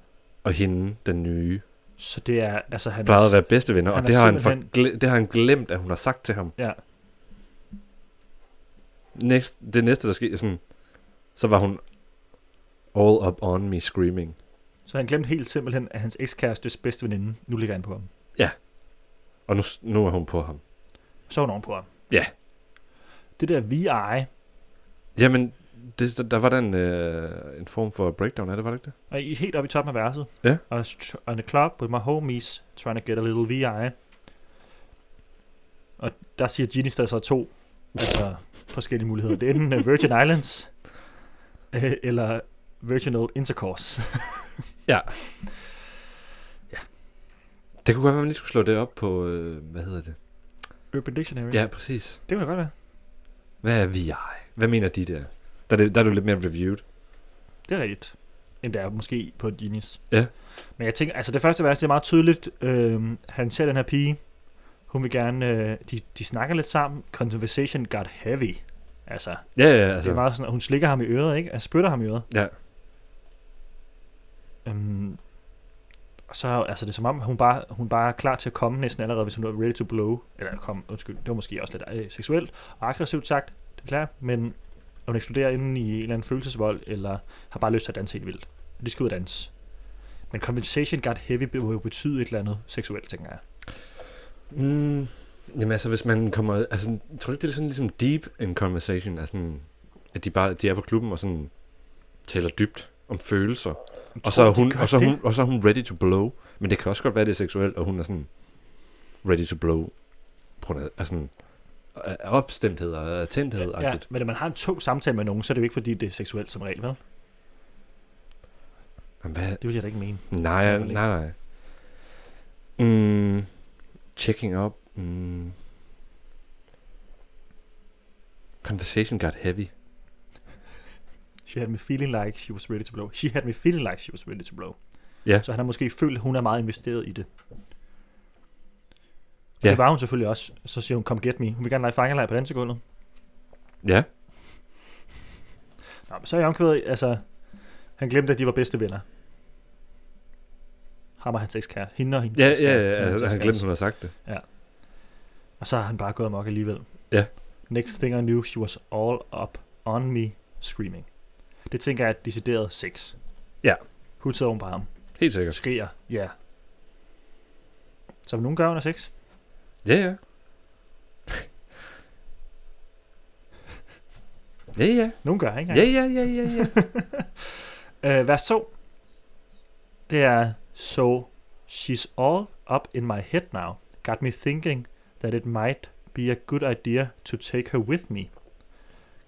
Speaker 3: Og hende, den nye,
Speaker 2: Så det er altså han.
Speaker 3: plejede at være bedste venner,
Speaker 2: han
Speaker 3: og
Speaker 2: er
Speaker 3: det har, han
Speaker 2: simpelthen-
Speaker 3: forgle- det har han glemt, at hun har sagt til ham.
Speaker 2: Ja.
Speaker 3: Next, det næste, der sker, sådan, så var hun all up on me screaming.
Speaker 2: Så han glemte helt simpelthen, at hans ekskærestes bedste veninde nu ligger han på ham.
Speaker 3: Og nu, nu er hun på ham.
Speaker 2: Så er hun ovenpå ham.
Speaker 3: Ja.
Speaker 2: Det der VI,
Speaker 3: Jamen, det, der, der var der en, øh, en form for breakdown af det, var det ikke det?
Speaker 2: og I er helt oppe i toppen af verset.
Speaker 3: Ja.
Speaker 2: I was tr- on the club with my homies, trying to get a little VI. Og der siger Genius, der så to altså forskellige muligheder. Det er enten øh, Virgin Islands, øh, eller Virginal Intercourse.
Speaker 3: Det kunne godt være, man lige skulle slå det op på, øh, hvad hedder det?
Speaker 2: Urban Dictionary.
Speaker 3: Ja, præcis.
Speaker 2: Det kunne det godt være.
Speaker 3: Hvad er VI? Hvad mener de der? Der er det, der er det jo lidt mere reviewed.
Speaker 2: Det er rigtigt. End der er måske på Genius.
Speaker 3: Ja.
Speaker 2: Men jeg tænker, altså det første vers, det er meget tydeligt. Øhm, han ser den her pige. Hun vil gerne, øh, de, de snakker lidt sammen. Conversation got heavy. Altså, altså,
Speaker 3: Ja, ja,
Speaker 2: det er
Speaker 3: altså.
Speaker 2: meget sådan, at hun slikker ham i øret, ikke? Altså, spytter ham i øret.
Speaker 3: Ja.
Speaker 2: Øhm, og så altså, det er som om, hun bare, hun bare er klar til at komme næsten allerede, hvis hun er ready to blow. Eller kom, undskyld, det var måske også lidt øh, seksuelt og aggressivt sagt, det er klart, men at hun eksploderer inden i en eller anden følelsesvold, eller har bare lyst til at danse helt vildt. Og de skal ud og danse. Men compensation got heavy be- må jo betyde et eller andet seksuelt, tænker jeg.
Speaker 3: Mm, jamen altså, hvis man kommer... Altså, tror du ikke, det er sådan ligesom deep in conversation? Altså, sådan, at de bare de er på klubben og sådan taler dybt om følelser.
Speaker 2: Men tror
Speaker 3: Og så, er
Speaker 2: du, de
Speaker 3: hun,
Speaker 2: gør
Speaker 3: og, så er
Speaker 2: det?
Speaker 3: hun, og så er hun ready to blow. Men det kan også godt være, det er seksuelt, og hun er sådan ready to blow. På grund af, af sådan af opstemthed og tændthed.
Speaker 2: Ja, ja, men når man har en tung samtale med nogen, så er det jo ikke fordi, det er seksuelt som regel, vel?
Speaker 3: Jamen, hvad?
Speaker 2: Det vil jeg da ikke mene.
Speaker 3: Nej,
Speaker 2: Hvorfor ikke?
Speaker 3: nej, nej. Mm, checking up. Mm. Conversation got heavy.
Speaker 2: She had me feeling like she was ready to blow. She had me feeling like she was ready to blow.
Speaker 3: Ja.
Speaker 2: Så han har måske følt, at hun er meget investeret i det. Og
Speaker 3: Ja.
Speaker 2: Det var hun selvfølgelig også. Så siger hun, come get me. Hun vil gerne lege fangelej på den sekundet.
Speaker 3: Ja.
Speaker 2: Nå, men så er jeg omkvædet, altså, han glemte, at de var bedste venner. Ham og hans ekskære. Hende og hendes
Speaker 3: Ja, ja,
Speaker 2: ekskære.
Speaker 3: ja,
Speaker 2: Hendes
Speaker 3: altså, han
Speaker 2: ekskæreste.
Speaker 3: glemte, hun havde sagt det.
Speaker 2: Og så har han bare gået amok alligevel.
Speaker 3: Ja.
Speaker 2: Next thing I knew, she was all up on me screaming. Det tænker jeg er decideret sex.
Speaker 3: Ja.
Speaker 2: Hun sidder oven på ham.
Speaker 3: Helt sikkert.
Speaker 2: Skriger, ja. Som nogen gør under sex.
Speaker 3: Ja, ja. ja, ja.
Speaker 2: Nogen gør, ikke?
Speaker 3: Ja, ja, ja, ja, ja.
Speaker 2: Øh, vers 2. Det er, so she's all up in my head now. Got me thinking that it might be a good idea to take her with me.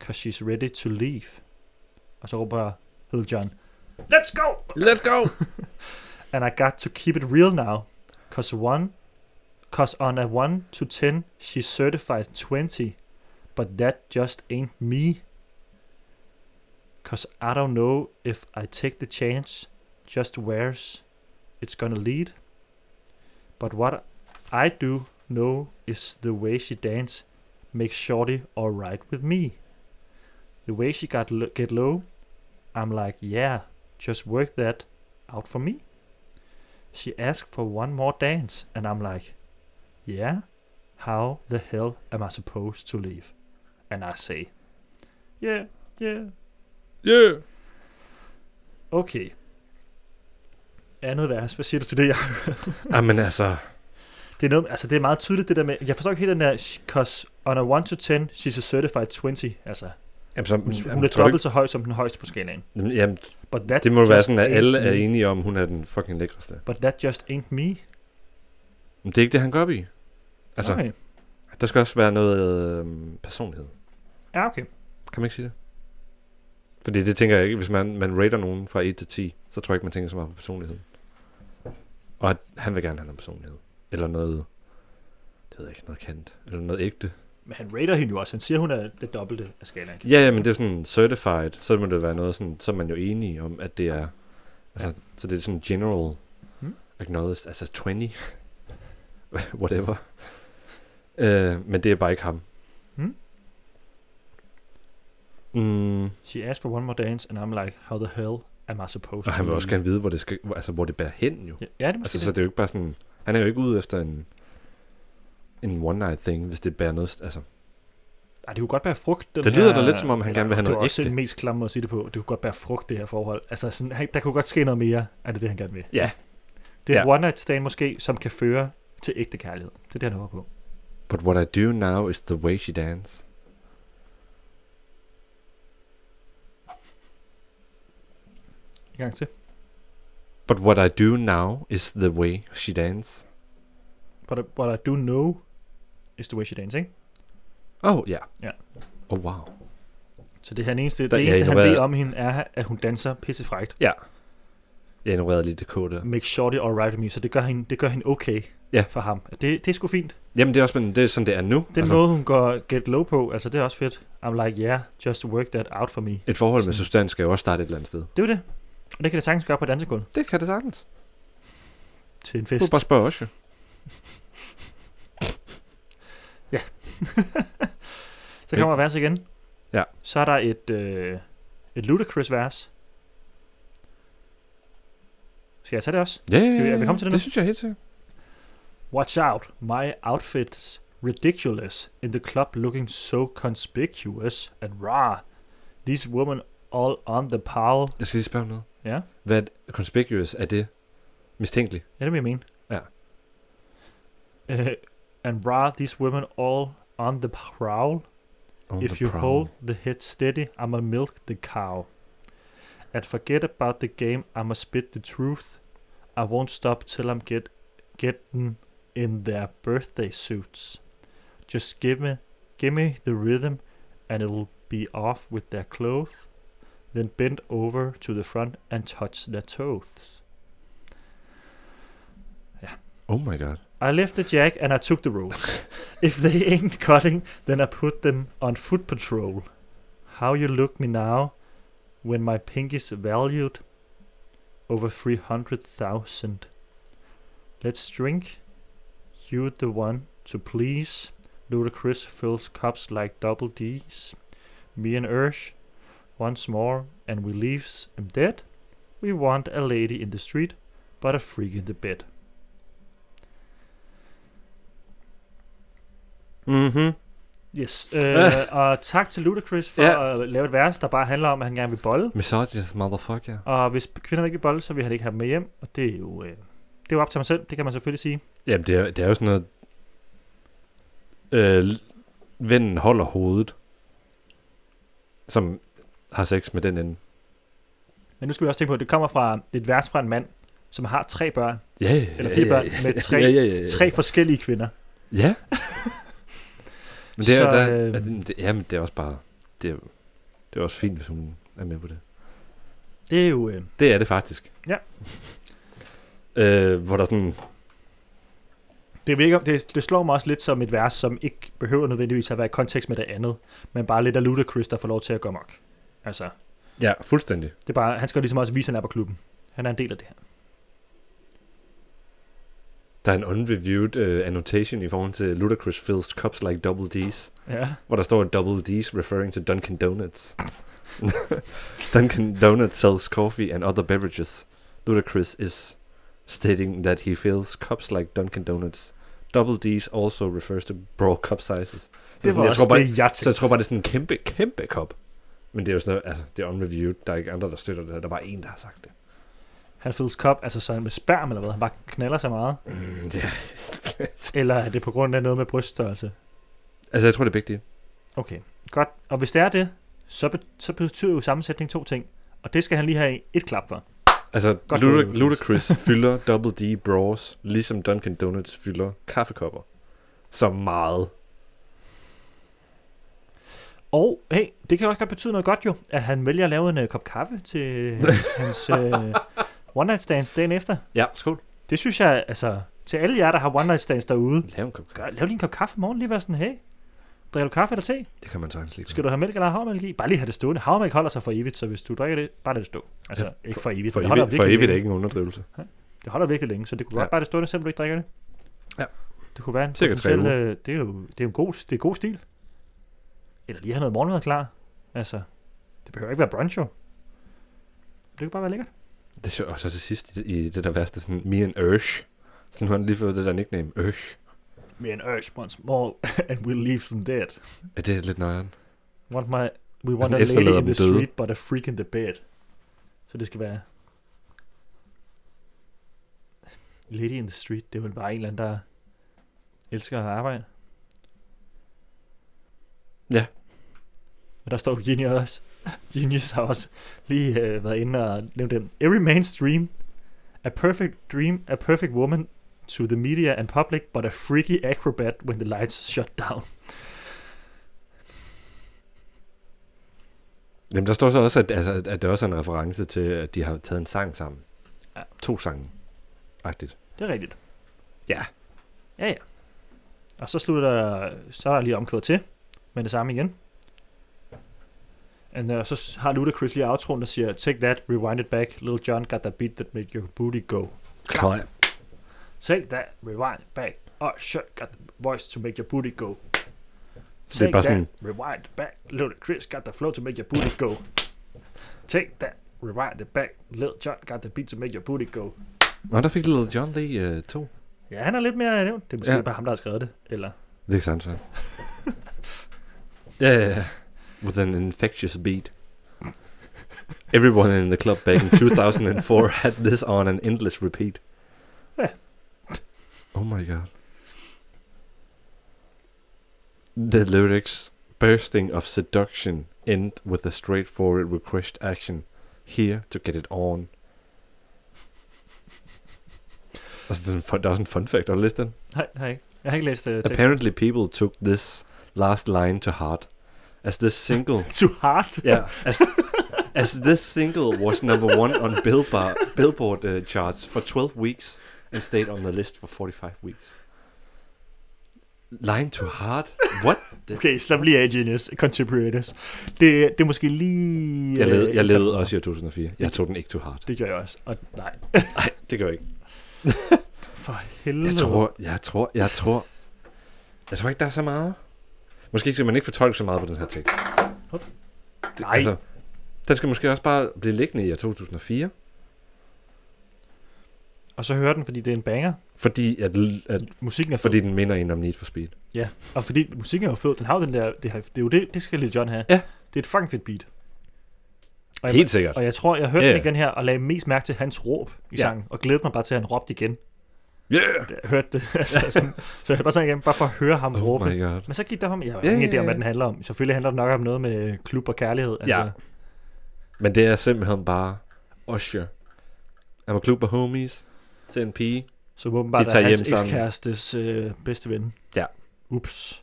Speaker 2: Cause she's ready to leave. Og så råber Little John, Let's go!
Speaker 3: Let's go!
Speaker 2: and I got to keep it real now, cause one, cause on a one to ten she's certified twenty, but that just ain't me. Cause I don't know if I take the chance, just where's it's gonna lead. But what I do know is the way she dance makes Shorty all right with me. The way she got lo- get low, I'm like, yeah, just work that out for me. She asked for one more dance, and I'm like, yeah, how the hell am I supposed to leave? And I say, yeah, yeah,
Speaker 3: Yeah.
Speaker 2: okay. Andet vers, hvad siger du til det? Jacob?
Speaker 3: Jamen altså,
Speaker 2: Det er, noget, altså det er meget tydeligt det der med, jeg forstår ikke helt den der, sh- cause on a 1 to 10, she's a certified 20, altså
Speaker 3: jamen, så,
Speaker 2: hun,
Speaker 3: jamen,
Speaker 2: hun er
Speaker 3: tror du
Speaker 2: dobbelt så høj som den højeste på skalaen.
Speaker 3: ikke- Jamen, jamen,
Speaker 2: But that
Speaker 3: det må
Speaker 2: just
Speaker 3: være sådan, at alle
Speaker 2: ain't
Speaker 3: er
Speaker 2: me.
Speaker 3: enige om, hun er den fucking lækreste.
Speaker 2: But that just ain't me.
Speaker 3: Men det er ikke det, han går op i. Altså,
Speaker 2: Okay.
Speaker 3: der skal også være noget øh, personlighed.
Speaker 2: Ja, okay.
Speaker 3: Kan man ikke sige det? Fordi det tænker jeg ikke, hvis man, man rater nogen fra 1 til 10, så tror jeg ikke, man tænker så meget på personlighed. Og at han vil gerne have noget personlighed. Eller noget, det ved jeg ikke, noget kendt. Eller noget ægte.
Speaker 2: Men han rater hende jo også. Han siger, hun er det dobbelte af skalaen.
Speaker 3: Ja, ja, men det er sådan certified, så må det være noget sådan, så er man jo enig om, at det er, altså, så det er sådan general
Speaker 2: Hmm.
Speaker 3: acknowledged, altså 20, whatever. Øh, men det er bare ikke ham.
Speaker 2: Hmm.
Speaker 3: Mm,
Speaker 2: She asked for one more dance, and I'm like, how the hell am I supposed
Speaker 3: og han
Speaker 2: to
Speaker 3: vil også
Speaker 2: leave?
Speaker 3: gerne vide, hvor det, skal, hvor- altså, hvor det bærer hen jo.
Speaker 2: Ja, ja, det er måske
Speaker 3: Altså,
Speaker 2: altså,
Speaker 3: så
Speaker 2: det.
Speaker 3: det er jo ikke bare sådan... Han er jo ikke ude efter en, en one-night thing, hvis det bærer noget... Altså,
Speaker 2: Ej, det kunne godt bære frugt. Den
Speaker 3: Det
Speaker 2: her...
Speaker 3: lyder da lidt, som om han
Speaker 2: Eller,
Speaker 3: gerne vil have
Speaker 2: det var
Speaker 3: noget
Speaker 2: også
Speaker 3: ægte.
Speaker 2: den mest klamme måde at sige det på. Det kunne godt bære frugt, det her forhold. Altså, sådan, han, der kunne godt ske noget mere, er det det, han gerne vil.
Speaker 3: Ja.
Speaker 2: Det er ja.
Speaker 3: Ja.
Speaker 2: one night stand måske, som kan føre til ægte kærlighed. Det er det, han håber på.
Speaker 3: But what I do now is the way she dance.
Speaker 2: En gang til.
Speaker 3: But what I do now is the way she dance.
Speaker 2: But, I- what I do know is the way she dances, ikke?
Speaker 3: Oh, ja.
Speaker 2: Ja.
Speaker 3: Oh, wow.
Speaker 2: Så det, er han eneste,
Speaker 3: Der-
Speaker 2: det
Speaker 3: ja,
Speaker 2: eneste, han
Speaker 3: ignorerer-
Speaker 2: ved om hende, er, at hun danser pissefrægt.
Speaker 3: Ja. Jeg ignorerede lige det kode der.
Speaker 2: Make shorty all right with me, så det gør hende, det gør hende okay
Speaker 3: Ja.
Speaker 2: for ham. Det, det er sgu fint.
Speaker 3: Jamen, det er også men det er sådan, det er nu.
Speaker 2: Den altså, måde, hun går get low på, altså det er også fedt. I'm like, yeah, just work that out for me. Det
Speaker 3: Et forhold med
Speaker 2: Sådan.
Speaker 3: substans skal jo også starte et eller andet sted.
Speaker 2: er jo det. Og det kan det sagtens gøre på et andet sekund.
Speaker 3: Det kan det sagtens.
Speaker 2: Til en
Speaker 3: Du
Speaker 2: fest.
Speaker 3: kan bare spørge også, jo.
Speaker 2: Så kommer vers igen.
Speaker 3: Ja.
Speaker 2: Så er der et, øh, et ludicrous vers. Skal jeg tage det også?
Speaker 3: Ja,
Speaker 2: Skal vi- er vi
Speaker 3: yeah,
Speaker 2: kommet til det
Speaker 3: Øh, det,
Speaker 2: nu?
Speaker 3: det synes jeg helt sikkert.
Speaker 2: Watch out, my outfit's ridiculous in the club looking so conspicuous and raw. These women all on the prowl.
Speaker 3: Jeg skal lige spørge om noget.
Speaker 2: Ja,
Speaker 3: Hvad er conspicuous? Er det mistænkeligt?
Speaker 2: ja det vil jeg mene.
Speaker 3: Ja.
Speaker 2: Uh, and raw, these women all on the prowl.
Speaker 3: On
Speaker 2: If
Speaker 3: Oh, the
Speaker 2: you
Speaker 3: prowl.
Speaker 2: hold the head steady, I'ma milk the cow. And forget about the game, I'ma spit the truth. I won't stop till I'm get getting in their birthday suits. Just give me give me the rhythm and it'll be off with their clothes. Then bend over to the front and touch their toes.
Speaker 3: Oh my god.
Speaker 2: I left the jack and I took the ropes. if they ain't cutting, then I put them on foot patrol. How you look me now when my pinkies valued over 300,000. Let's drink. You the one to please. Ludacris fills cups like double D's. Me and Ursh, once more, and we leaves him dead. We want a lady in the street, but a freak in the bed.
Speaker 3: Mhm.
Speaker 2: Yes, øh, og tak til Ludacris for
Speaker 3: Ja.
Speaker 2: at lave et vers, der bare handler om, at han gerne vil bolle.
Speaker 3: Misogynist motherfucker.
Speaker 2: Og hvis kvinderne ikke vil bolle, så vil han ikke have dem med hjem. Og det er jo, øh, det er jo op til ham selv, det kan man selvfølgelig sige.
Speaker 3: Jamen, det er, det er jo sådan noget... Øh, vennen holder hovedet, som har sex med den ende.
Speaker 2: Men nu skal vi også tænke på, at det kommer fra et vers fra en mand, som har tre børn.
Speaker 3: Ja, yeah,
Speaker 2: Eller fire børn med tre-
Speaker 3: ja, ja, ja.
Speaker 2: Tre forskellige kvinder.
Speaker 3: Ja. men det er,
Speaker 2: Så,
Speaker 3: så, der,
Speaker 2: øhm,
Speaker 3: altså, det, jamen, det er også bare... Det er, det er også fint, hvis hun er med på det.
Speaker 2: Det er jo... Øh,
Speaker 3: Det er det faktisk.
Speaker 2: Ja.
Speaker 3: øh, hvor der sådan...
Speaker 2: det, virker, det, det slår mig også lidt som et vers, som ikke behøver nødvendigvis at være i kontekst med det andet, men bare lidt af Ludacris, der får lov til at gå mok. Altså,
Speaker 3: Ja, fuldstændig.
Speaker 2: det er bare, han skal jo ligesom også vise, at han er på klubben. Han er en del af det her.
Speaker 3: Der er en unreviewed uh, annotation i forhold til Ludacris fills cups like double D's,
Speaker 2: Ja.
Speaker 3: hvor der står double D's referring to Dunkin' Donuts. Dunkin' Donuts sells coffee and other beverages. Ludacris is stating that he fills cups like Dunkin' Donuts. Double D's also refers to broad cup sizes. Så
Speaker 2: Det var
Speaker 3: sådan, Altså, jeg
Speaker 2: også
Speaker 3: tror bare,
Speaker 2: det, jeg
Speaker 3: så jeg
Speaker 2: tænkte.
Speaker 3: tror bare, det er sådan en kæmpe, kæmpe kop. Men det er jo sådan noget, altså, det er unreviewed. Der er ikke andre, der støtter det. Der er bare en, der har sagt det.
Speaker 2: Han fyldes kop, altså sådan med sperm eller hvad? Han bare knaller så meget?
Speaker 3: Mm, ja.
Speaker 2: Eller er det på grund af noget med bryststørrelse?
Speaker 3: altså, jeg tror, det er begge dele.
Speaker 2: Okay, godt. Og hvis det er det, så, be- så betyder jo sammensætning to ting. Og det skal han lige have et klap for.
Speaker 3: Altså,
Speaker 2: Godt
Speaker 3: Luda-
Speaker 2: gået, Ludacris.
Speaker 3: Ludacris fylder Double D bras, ligesom Dunkin' Donuts fylder kaffekopper. Så meget.
Speaker 2: Og hey, det kan jo også godt betyde noget godt jo, at han vælger at lave en uh, kop kaffe til hans uh, one night stands dagen efter.
Speaker 3: Ja, skål.
Speaker 2: Det synes jeg, altså, til alle jer, der har one night stands derude,
Speaker 3: Lav en kop kaffe.
Speaker 2: gør, lav lige en kop kaffe i morgen, lige være sådan, hey, drikker du kaffe eller te?
Speaker 3: Det kan man sagtens lige.
Speaker 2: Skal du have mælk eller havmælk i? Bare lige have det stående. Havmælk holder sig for evigt, så hvis du drikker det, bare lad det stå. Altså,
Speaker 3: Ja,
Speaker 2: ikke for evigt.
Speaker 3: For
Speaker 2: men det holder
Speaker 3: evigt, for
Speaker 2: virkelig
Speaker 3: evigt er
Speaker 2: længe.
Speaker 3: ikke en underdrivelse.
Speaker 2: Det holder virkelig længe, så det kunne
Speaker 3: Ja.
Speaker 2: godt bare det stå der, selvom du ikke drikker det.
Speaker 3: Ja.
Speaker 2: Det kunne være en
Speaker 3: Cirka tre
Speaker 2: potentiel, øh, det er jo det er en god, det er god stil. Eller lige have noget morgenmad klar. Altså, det behøver ikke være brunch, jo. Det kan bare være lækkert.
Speaker 3: Det er sjovt. Og så til sidst i, i det der værste, sådan, me and Ursh. Sådan, nu har han lige fået det der nickname, Ursh.
Speaker 2: Me and
Speaker 3: øh,
Speaker 2: Ursh once more, and we'll leave them dead.
Speaker 3: Er det lidt nøjeren?
Speaker 2: Want my, we want
Speaker 3: sådan
Speaker 2: a lady
Speaker 3: Altså, efterlader
Speaker 2: in the
Speaker 3: dem døde.
Speaker 2: street, but a freak in the bed. Så det skal være... Lady in the street, det er vel bare en eller anden, der elsker at arbejde.
Speaker 3: Ja.
Speaker 2: Men der står Genius også. Genius har også lige øh, været inde og nævnt den. Every man's dream. A perfect dream, a perfect woman to the media and public, but a freaky acrobat when the lights shut down.
Speaker 3: Jamen, der står så også, at, altså, at det også er en reference til, at de har taget en sang sammen.
Speaker 2: Ja.
Speaker 3: To sange. Agtigt.
Speaker 2: Det er rigtigt.
Speaker 3: Ja.
Speaker 2: Ja, ja. Og så slutter, så er der lige omkvædet til, med det samme igen. And, uh, så s- har Ludacris lige outroen, der siger, Take that, rewind it back, Little John got that beat that made your booty go.
Speaker 3: Klar.
Speaker 2: Take that, rewind it back, oh shit, got the voice to make your booty go.
Speaker 3: Så det er bare sådan,
Speaker 2: that, rewind it back. Little Chris got the flow to make your booty go. Take that, rewind it back. Little John got the beat to make your booty go.
Speaker 3: Nå, der fik Little John lige uh, to.
Speaker 2: Ja, han er lidt mere nævnt. Det er måske
Speaker 3: Ja.
Speaker 2: ja. bare ham, der har skrevet det. Eller
Speaker 3: Det er ikke sandt, så. Ja, ja, ja. With an infectious beat. Everyone in the club back in 2004 had this on an endless repeat.
Speaker 2: Ja.
Speaker 3: Oh my god. The lyrics bursting of seduction end with a straightforward request action here to get it on. Altså, det er sådan en fun- der er også en fun fact, har du læst den?
Speaker 2: Nej, nej. ikke. Jeg har ikke læst uh, teksten.
Speaker 3: Apparently, people took this last line to heart, as this single.
Speaker 2: Too hard.
Speaker 3: yeah, as, as this single was number one on Billboard Billboard uh, charts for 12 weeks and stayed on the list for 45 weeks. Line to heart? What? The?
Speaker 2: Okay, slap lige af, Genius. Contemporaries. Det, det er måske lige...
Speaker 3: Jeg
Speaker 2: øh,
Speaker 3: led, jeg
Speaker 2: tager-
Speaker 3: led også i år 2004. Jeg tog den ikke to heart.
Speaker 2: Det gør jeg også. Og nej,
Speaker 3: Det gør jeg ikke.
Speaker 2: for helvede.
Speaker 3: Jeg tror, jeg tror, jeg tror... Jeg tror ikke, der er så meget. Måske skal man ikke fortolke så meget på den her tekst.
Speaker 2: nej.
Speaker 3: Altså, den skal måske også bare blive liggende i år 2004.
Speaker 2: Og så hører den, fordi det er en banger.
Speaker 3: Fordi, at, at,
Speaker 2: Musikken er fed.
Speaker 3: fordi den minder en om Need for Speed.
Speaker 2: Ja, og fordi musikken er jo fed. Den har jo den der... Det, har, det er jo det, det skal Lil Jon have.
Speaker 3: Ja.
Speaker 2: Det er et fucking fedt beat. Og jeg,
Speaker 3: Helt sikkert.
Speaker 2: Og jeg tror, jeg hørte
Speaker 3: Ja,
Speaker 2: yeah. den
Speaker 3: ja.
Speaker 2: igen her, og lagde mest mærke til hans råb i
Speaker 3: Ja.
Speaker 2: sangen, og glædede mig bare til, at han råbte igen,
Speaker 3: Yeah!
Speaker 2: da jeg hørte det. altså, sådan, så jeg hørte bare sådan igen, bare for at høre ham
Speaker 3: Oh
Speaker 2: råbe.
Speaker 3: my god.
Speaker 2: Men så gik der ham, jeg har
Speaker 3: Ja,
Speaker 2: ingen
Speaker 3: ja,
Speaker 2: idé om,
Speaker 3: ja.
Speaker 2: hvad den handler om. Selvfølgelig handler det nok om noget med klub og kærlighed. Altså,
Speaker 3: Ja. Men det er simpelthen bare Usher. I'm a club of homies. Til en pige.
Speaker 2: Så åbenbart
Speaker 3: De
Speaker 2: er
Speaker 3: tager
Speaker 2: hans
Speaker 3: hjem sammen.
Speaker 2: ekskærestes øh, bedste ven.
Speaker 3: Ja.
Speaker 2: Ups.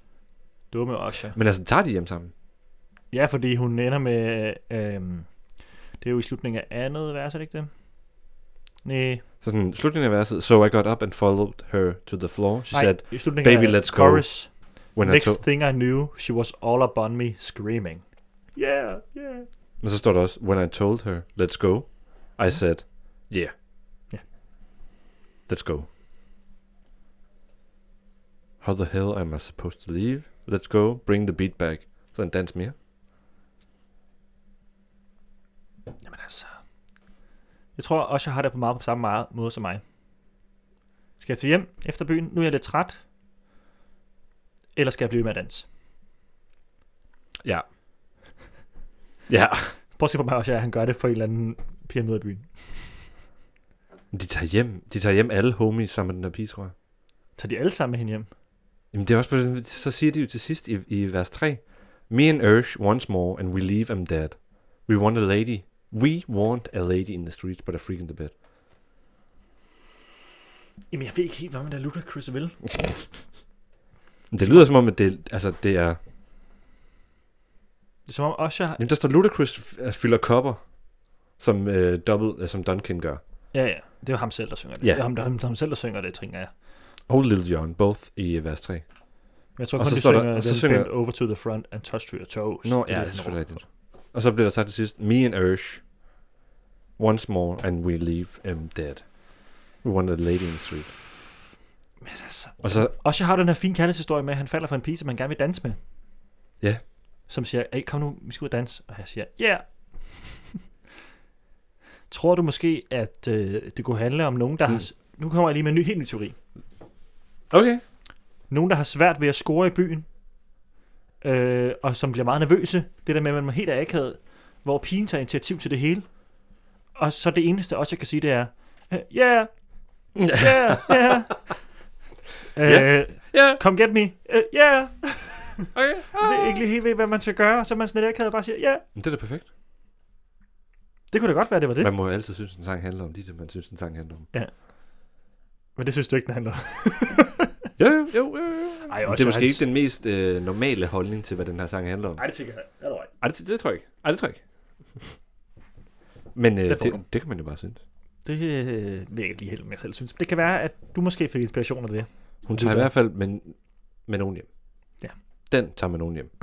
Speaker 2: Dumme Osha.
Speaker 3: Men altså, tager de hjem sammen?
Speaker 2: Ja, fordi hun ender med... Øh, det er jo i slutningen af andet vers, er det ikke det? Nej.
Speaker 3: Så sådan, slutningen af verset. So I got up and followed her to the floor. She
Speaker 2: Nej,
Speaker 3: said,
Speaker 2: i slutningen
Speaker 3: baby,
Speaker 2: af
Speaker 3: let's go.
Speaker 2: chorus.
Speaker 3: when I
Speaker 2: Next
Speaker 3: told...
Speaker 2: thing I knew, she was all up on me, screaming. Yeah, yeah.
Speaker 3: Men så står der også, when I told her, let's go. I said, yeah.
Speaker 2: Ja.
Speaker 3: Let's go. How the hell am I supposed to leave? Let's go, bring the beat back. Så en dans mere.
Speaker 2: Jamen altså. Jeg tror også, jeg har det på meget på samme meget måde som mig. Skal jeg til hjem efter byen? Nu er jeg lidt træt. Eller skal jeg blive ved med at danse?
Speaker 3: Ja. Ja.
Speaker 2: Prøv at se på mig også, at han gør det på en eller anden pyramide i byen.
Speaker 3: Men De tager hjem. De tager hjem alle homies sammen med den der pige, tror jeg.
Speaker 2: Tager de alle sammen med hende hjem?
Speaker 3: Jamen det er også på den, så siger de jo til sidst i, i vers 3. Me and Ursh once more, and we leave them dead. We want a lady. We want a lady in the streets, but a freak in the bed.
Speaker 2: Jamen, jeg ved ikke helt, hvad man der lutter Chris vil.
Speaker 3: Men det lyder som om, at det, altså, det er...
Speaker 2: Det er som om også, jeg...
Speaker 3: Jamen der står Ludacris f- altså, fylder kopper, som, øh, double, øh, som Duncan gør.
Speaker 2: Ja, ja. Det er jo ham selv, der synger det.
Speaker 3: Ja.
Speaker 2: Det er ham, der, ham, ham selv, der synger det, tænker jeg.
Speaker 3: Og Little John, both i øh, vers 3.
Speaker 2: Men jeg tror
Speaker 3: Og
Speaker 2: kun,
Speaker 3: så
Speaker 2: de
Speaker 3: står der-
Speaker 2: synger,
Speaker 3: og så
Speaker 2: den
Speaker 3: synger-
Speaker 2: bend over to the front and touch to your toes.
Speaker 3: Nå,
Speaker 2: er
Speaker 3: ja, det er
Speaker 2: den
Speaker 3: selvfølgelig
Speaker 2: ord.
Speaker 3: rigtigt. Og så bliver der sagt til sidst, me and Ursh, once more, and we leave them dead. We want a lady in the street.
Speaker 2: Men altså...
Speaker 3: Og så,
Speaker 2: Også jeg har den her fine kærlighedshistorie med, at han falder for en pige, som han gerne vil danse med.
Speaker 3: Ja.
Speaker 2: Som siger, hey, kom nu, vi skal ud og danse. Og jeg siger, ja. Yeah. Tror du måske, at øh, det kunne handle om nogen, der
Speaker 3: Sådan-
Speaker 2: har... s- Nu kommer jeg lige med en ny, helt ny teori.
Speaker 3: okay.
Speaker 2: Nogen, der har svært ved at score i byen, øh, og som bliver meget nervøse. Det der med, at man er helt akavet, hvor pigen tager initiativ til det hele. Og så det eneste, også jeg kan sige, det er, øh, yeah, yeah, yeah. Øh,
Speaker 3: Ja,
Speaker 2: Come get me. Øh, yeah.
Speaker 3: okay.
Speaker 2: ved ikke lige helt ved, hvad man skal gøre, så man sådan lidt akavet og bare siger, ja,
Speaker 3: Men det er da perfekt.
Speaker 2: det kunne da godt være, det var det.
Speaker 3: Man må jo altid synes, en sang handler om de det, man synes, en sang handler om.
Speaker 2: Men det synes du ikke, den handler om.
Speaker 3: Jo, jo, jo. jo, jo.
Speaker 2: Ej,
Speaker 3: Men
Speaker 2: også
Speaker 3: det er måske
Speaker 2: hans-
Speaker 3: ikke den mest øh, normale holdning til, hvad den her sang handler om.
Speaker 2: Nej, det tænker jeg. Er du right?
Speaker 3: Ej, det, det tror jeg ikke. Ej, det tror jeg ikke. Men øh,
Speaker 2: Det
Speaker 3: det,
Speaker 2: får du.
Speaker 3: det, det kan man jo bare synes.
Speaker 2: Det øh, vil jeg ikke lige helt, om jeg selv synes. Det kan være, at du måske fik inspiration af det.
Speaker 3: Hun
Speaker 2: Det
Speaker 3: tager i
Speaker 2: er
Speaker 3: hvert fald med, med nogen hjem.
Speaker 2: Ja.
Speaker 3: Den tager med nogen hjem.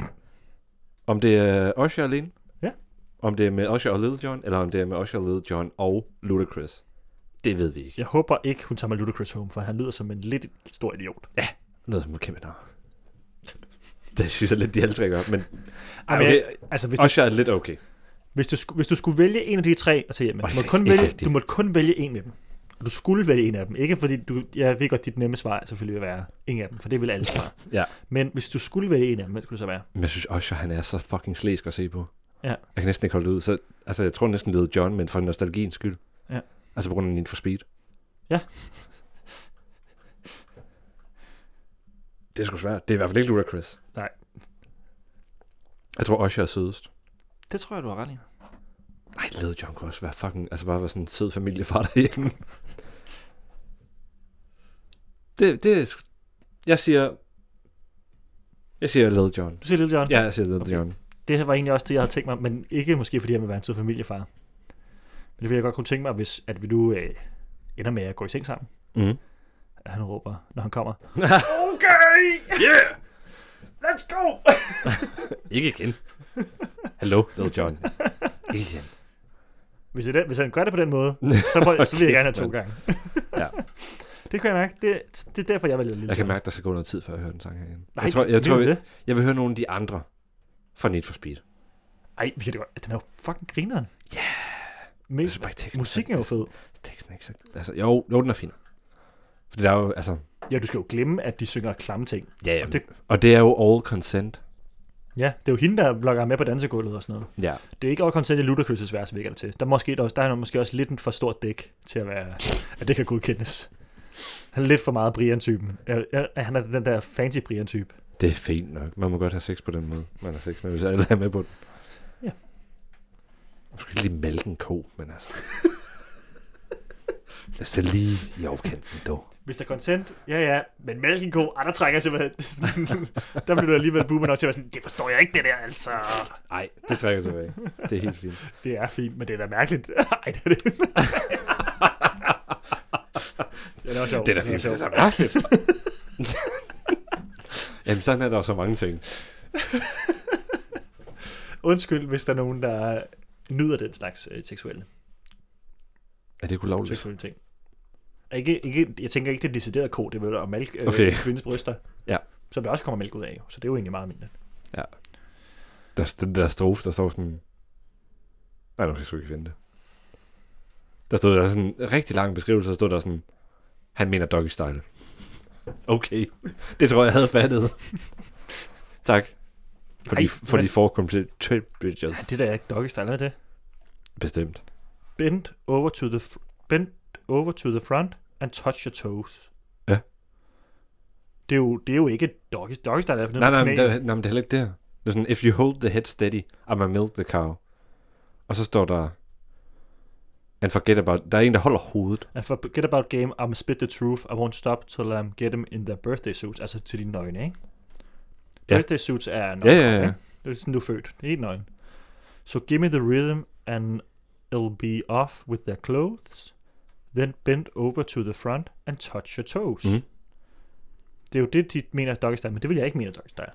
Speaker 3: Om det er Usher alene,
Speaker 2: Ja.
Speaker 3: om det er med Usher og Little John, eller om det er med Usher, Little John og Ludacris. Det ved vi ikke.
Speaker 2: Jeg håber ikke, hun tager med Ludacris home, for han lyder som en lidt stor idiot.
Speaker 3: Noget som er kæmpe nar. Det synes jeg lidt, de alle tre gør. Men
Speaker 2: Ej, men,
Speaker 3: okay,
Speaker 2: okay. altså, hvis, du,
Speaker 3: Usher er lidt okay.
Speaker 2: hvis, du, sku- hvis du skulle vælge en af de tre at tage hjem med,
Speaker 3: Ej,
Speaker 2: du måtte, kun
Speaker 3: ikke
Speaker 2: vælge,
Speaker 3: rigtigt.
Speaker 2: du måtte kun vælge en af dem. Og du skulle vælge en af dem. Ikke fordi, du, jeg ved godt, dit nemme svar selvfølgelig vil være ingen af dem, for det vil alle svare.
Speaker 3: Ja.
Speaker 2: Men hvis du skulle vælge en af dem, hvad skulle det så være?
Speaker 3: Men jeg synes Usher, han er så fucking slæsk at se på.
Speaker 2: Ja.
Speaker 3: Jeg kan næsten ikke holde det ud. Så, altså, jeg tror næsten, det hedder John, men for nostalgiens skyld.
Speaker 2: Ja.
Speaker 3: Altså på grund af Need for Speed.
Speaker 2: Ja.
Speaker 3: det er sgu svært. Det er i hvert fald ikke Ludacris.
Speaker 2: Nej.
Speaker 3: Jeg tror Usher er sødest.
Speaker 2: Det tror jeg, du har ret i.
Speaker 3: Nej, Lil John kunne også være fucking... Altså bare være sådan en sød familiefar derhjemme. det, det er... sgu- Jeg siger... Jeg siger Lil John.
Speaker 2: Du siger Lille John.
Speaker 3: Ja, jeg siger Lil
Speaker 2: Okay.
Speaker 3: okay. John.
Speaker 2: Det var egentlig også det, jeg havde tænkt mig, men ikke måske fordi jeg vil være en sød familiefar. Men det ville jeg godt kunne tænke mig, hvis at vi nu øh, ender med at gå i seng sammen.
Speaker 3: Mm.
Speaker 2: At han råber, når han kommer.
Speaker 3: okay! Yeah!
Speaker 2: Let's go!
Speaker 3: Ikke igen. Hallo, Lil John. Ikke igen.
Speaker 2: Hvis, det, hvis han gør det på den måde, så, må, så vil jeg
Speaker 3: Kæft,
Speaker 2: gerne have to
Speaker 3: mand.
Speaker 2: gange.
Speaker 3: Ja.
Speaker 2: Det kan jeg mærke. Det, det er derfor, jeg valgte Lille
Speaker 3: Jeg
Speaker 2: John.
Speaker 3: kan mærke, der skal gå noget tid, før jeg hører den sang her igen.
Speaker 2: Nej,
Speaker 3: jeg tror, jeg, tror,
Speaker 2: vil du
Speaker 3: jeg,
Speaker 2: det?
Speaker 3: jeg vil høre nogle af de andre fra Need for Speed.
Speaker 2: Ej, vi kan det godt. Den er jo fucking grineren. Ja.
Speaker 3: Jeg
Speaker 2: Yeah.
Speaker 3: synes Altså, bare ikke, teksten
Speaker 2: Musikken er jo fed.
Speaker 3: Teksten er ikke så... Altså, jo, jo, den er fin. For der er jo, altså...
Speaker 2: Ja, du skal jo glemme, at de synger klamme ting.
Speaker 3: Ja, ja.
Speaker 2: Og
Speaker 3: Og
Speaker 2: det-
Speaker 3: det, og det er jo all consent.
Speaker 2: Ja, det er jo hende, der blokker ham med på dansegulvet og sådan noget.
Speaker 3: Ja.
Speaker 2: Det er ikke over koncert i Ludacris' vers, virker det til. Der, er måske, der, der er han måske også lidt en for stort dæk til at være, at det kan godkendes. Han er lidt for meget Brian-typen. Øh, øh, Han er den der fancy Brian-type.
Speaker 3: Det er fint nok. Man må godt have sex på den måde. Man har sex med, hvis alle er med på den.
Speaker 2: Ja.
Speaker 3: Man skal ikke lige mælke en ko, men altså... Lad os da lige i overkanten, dog.
Speaker 2: Hvis der er consent, ja ja, men Malkenko, ah, der trækker jeg simpelthen. sådan- der bliver du alligevel boomer nok til at være sådan, det forstår jeg ikke det der, altså.
Speaker 3: Nej, det trækker tilbage. Altså, Det er helt fint.
Speaker 2: Det er fint, men det er da mærkeligt. Ej, det er det. det er da sjovt.
Speaker 3: Det er da fint.
Speaker 2: sjovt.
Speaker 3: Det er da mærkeligt. Jamen, sådan er der jo så mange ting.
Speaker 2: Undskyld, hvis der er nogen, der nyder den slags øh, seksuelle.
Speaker 3: Er det ikke ulovligt?
Speaker 2: seksuelle ting. Og Ikke, ikke, jeg tænker ikke, det er decideret ko, det vil være mælk øh, okay.
Speaker 3: Okay.
Speaker 2: kvindens bryster.
Speaker 3: Ja.
Speaker 2: Som der også kommer mælk ud af, jo. så det er jo egentlig meget mindre.
Speaker 3: Der, er den der strofe, der står sådan... Nej, nu kan jeg sgu ikke finde det. Der stod der sådan en rigtig lang beskrivelse, der stod der sådan... Han mener doggy style. Okay. Det tror jeg, jeg havde fattet. tak. For,
Speaker 2: Ej,
Speaker 3: de, for
Speaker 2: men-
Speaker 3: de forekomte trip bridges.
Speaker 2: Det der er ikke doggy style, er det?
Speaker 3: Bestemt.
Speaker 2: Bend over, to the fr- bend over to the front and touch your toes.
Speaker 3: Ja.
Speaker 2: Det er jo, det er jo ikke doggy, doggy style. Er på
Speaker 3: Nej, nej, men
Speaker 2: men
Speaker 3: det, er- nej, men det er heller ikke der. Det er sådan, if you hold the head steady, I'm a milk the cow. Og så står der, and forget about, der er en, der holder hovedet.
Speaker 2: And forget about game, I'm spit the truth, I won't stop till I get them in their birthday suits. Altså til dine nøgne, ikke?
Speaker 3: Ja.
Speaker 2: Birthday suits er nøgne.
Speaker 3: Ja, ja, ja.
Speaker 2: ikke? Det er sådan, du er født. Det er helt nøgen. So give me the rhythm and it'll be off with their clothes. Then bend over to the front and touch your toes.
Speaker 3: Mhm.
Speaker 2: Det er jo det, de mener er doggy style, men det vil jeg ikke mene er doggy style.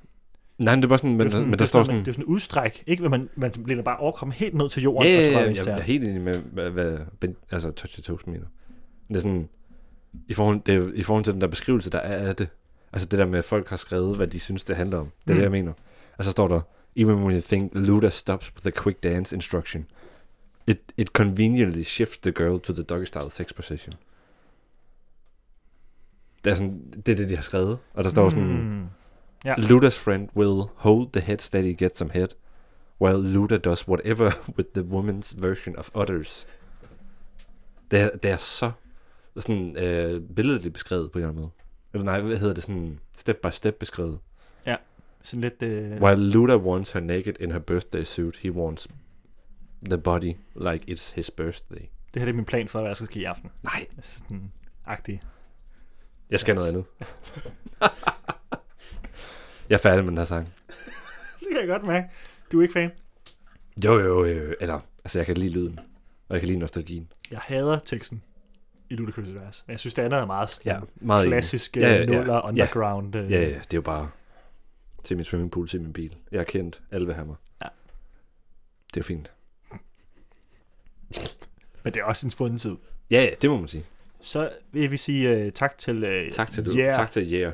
Speaker 3: Nej, men det er bare sådan,
Speaker 2: Det er
Speaker 3: men,
Speaker 2: jo
Speaker 3: sådan, men
Speaker 2: det er
Speaker 3: der står
Speaker 2: man-
Speaker 3: sådan,
Speaker 2: Det er jo sådan en udstræk, ikke? Men Man, man bliver bare overkommet helt ned til
Speaker 3: ja,
Speaker 2: jorden
Speaker 3: ja,
Speaker 2: og
Speaker 3: ja,
Speaker 2: træder
Speaker 3: ja,
Speaker 2: venstre.
Speaker 3: jeg er helt enig med, hvad, hvad ben, altså, Touch Your Toes mener. Men Det er sådan, i forhold, det er, i forhold til den der beskrivelse, der er af det, altså det der med, at folk har skrevet, hvad de synes, det handler om, det er
Speaker 2: Mm.
Speaker 3: det, jeg mener. Og så står der, even when you think Luda stops with the quick dance instruction, it, it conveniently shifts the girl to the doggy style sex position. Det er sådan, det er det, de har skrevet. Og der står sådan,
Speaker 2: Mm.
Speaker 3: Luda's friend will hold the head steady, get some head, while Luda does whatever with the woman's version of others. Det er, det er så sådan øh, billedligt beskrevet på en eller anden måde. Eller nej, hvad hedder det? Sådan step by step beskrevet.
Speaker 2: Sådan lidt... Øh,
Speaker 3: While Luda wants her naked in her birthday suit, he wants the body like it's his birthday.
Speaker 2: det her det er min plan for, hvad der skal ske i aften.
Speaker 3: Nej,
Speaker 2: Sådan agtig.
Speaker 3: jeg skal noget andet. jeg er færdig med den her sang.
Speaker 2: Det kan jeg godt mærke. Du er ikke fan.
Speaker 3: Jo, jo, jo. Eller, altså jeg kan lide lyden. Og jeg kan lide nostalgien.
Speaker 2: Jeg hader teksten i Ludacris' vers. Men jeg synes, det andet er meget sådan
Speaker 3: meget enig.
Speaker 2: klassisk
Speaker 3: Ja, ja,
Speaker 2: ja,
Speaker 3: ja.
Speaker 2: nuller,
Speaker 3: Ja.
Speaker 2: underground. øh.
Speaker 3: Ja, ja, det er jo bare til min swimmingpool, til min bil. Jeg er kendt, alle vil have mig.
Speaker 2: Ja.
Speaker 3: Det er jo fint.
Speaker 2: Men det er også en funden tid.
Speaker 3: Ja, ja, det må man sige.
Speaker 2: Så vil vi sige uh, tak til, uh,
Speaker 3: Tak til,
Speaker 2: yeah,
Speaker 3: yeah. tak til Jæger.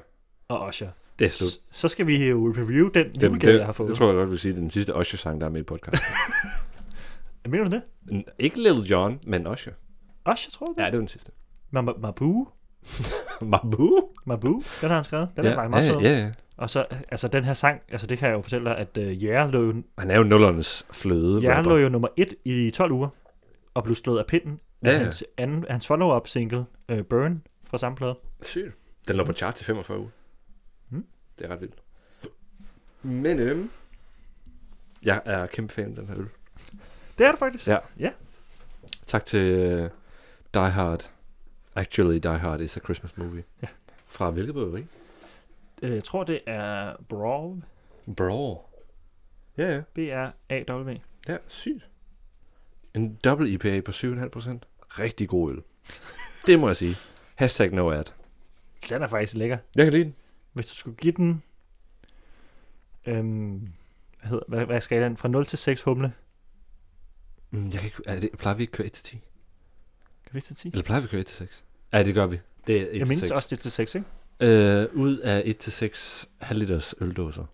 Speaker 2: og Osher.
Speaker 3: Det er slut.
Speaker 2: Så skal vi jo review den
Speaker 3: Den,
Speaker 2: julegave,
Speaker 3: det,
Speaker 2: jeg har fået.
Speaker 3: det tror jeg godt, vil sige, det er den sidste Usher-sang, der er med i podcasten.
Speaker 2: Mener du det?
Speaker 3: N- ikke Little John, men Usher.
Speaker 2: Også, jeg tror det.
Speaker 3: Ja,
Speaker 2: Ja.
Speaker 3: det var den sidste.
Speaker 2: Ma- Mabu.
Speaker 3: Mabu?
Speaker 2: Mabu, den har han skrevet. Den
Speaker 3: ja,
Speaker 2: er faktisk meget
Speaker 3: ja,
Speaker 2: sød.
Speaker 3: ja, ja.
Speaker 2: Og så, altså den her sang, altså det kan jeg jo fortælle dig, at uh, Jære lå, jo-
Speaker 3: Han er jo nullernes fløde.
Speaker 2: Jære
Speaker 3: rapper.
Speaker 2: lå jo nummer et i 12 uger, og blev slået af pinden af
Speaker 3: Ja, ja.
Speaker 2: hans, anden, hans follow-up single, uh, Burn, fra samme plade.
Speaker 3: Sygt. Den lå på chart til 45 uger.
Speaker 2: Mm.
Speaker 3: Det er ret vildt. Men øhm, jeg er kæmpe fan af den her øl.
Speaker 2: Det er det faktisk.
Speaker 3: Ja.
Speaker 2: Ja.
Speaker 3: Tak til øh, Die Hard. Actually, Die Hard is a Christmas movie.
Speaker 2: Ja.
Speaker 3: Fra hvilket bryggeri?
Speaker 2: Øh, Jeg tror, det er Brawl,
Speaker 3: Bro. Ja, ja.
Speaker 2: B-R-A-W.
Speaker 3: Ja, sygt. En dobbelt IPA på 7,5 procent. Rigtig god øl. det må jeg sige. Hashtag no ad.
Speaker 2: Den er faktisk lækker.
Speaker 3: Jeg kan lide den.
Speaker 2: Hvis du skulle give den... Øhm, hvad, hedder, hvad, hvad skal den? Fra 0 til 6 humle.
Speaker 3: Mm, Jeg kan ikke, er det, plejer vi ikke at køre 1 til 10?
Speaker 2: Kan vi til 10?
Speaker 3: Eller plejer vi at køre 1 til 6? Ja, det gør vi. Det er 1
Speaker 2: Jeg
Speaker 3: til
Speaker 2: mindes
Speaker 3: 6.
Speaker 2: også, det er til 6, ikke?
Speaker 3: Øh, ud af 1 til 6 halv liters øldåser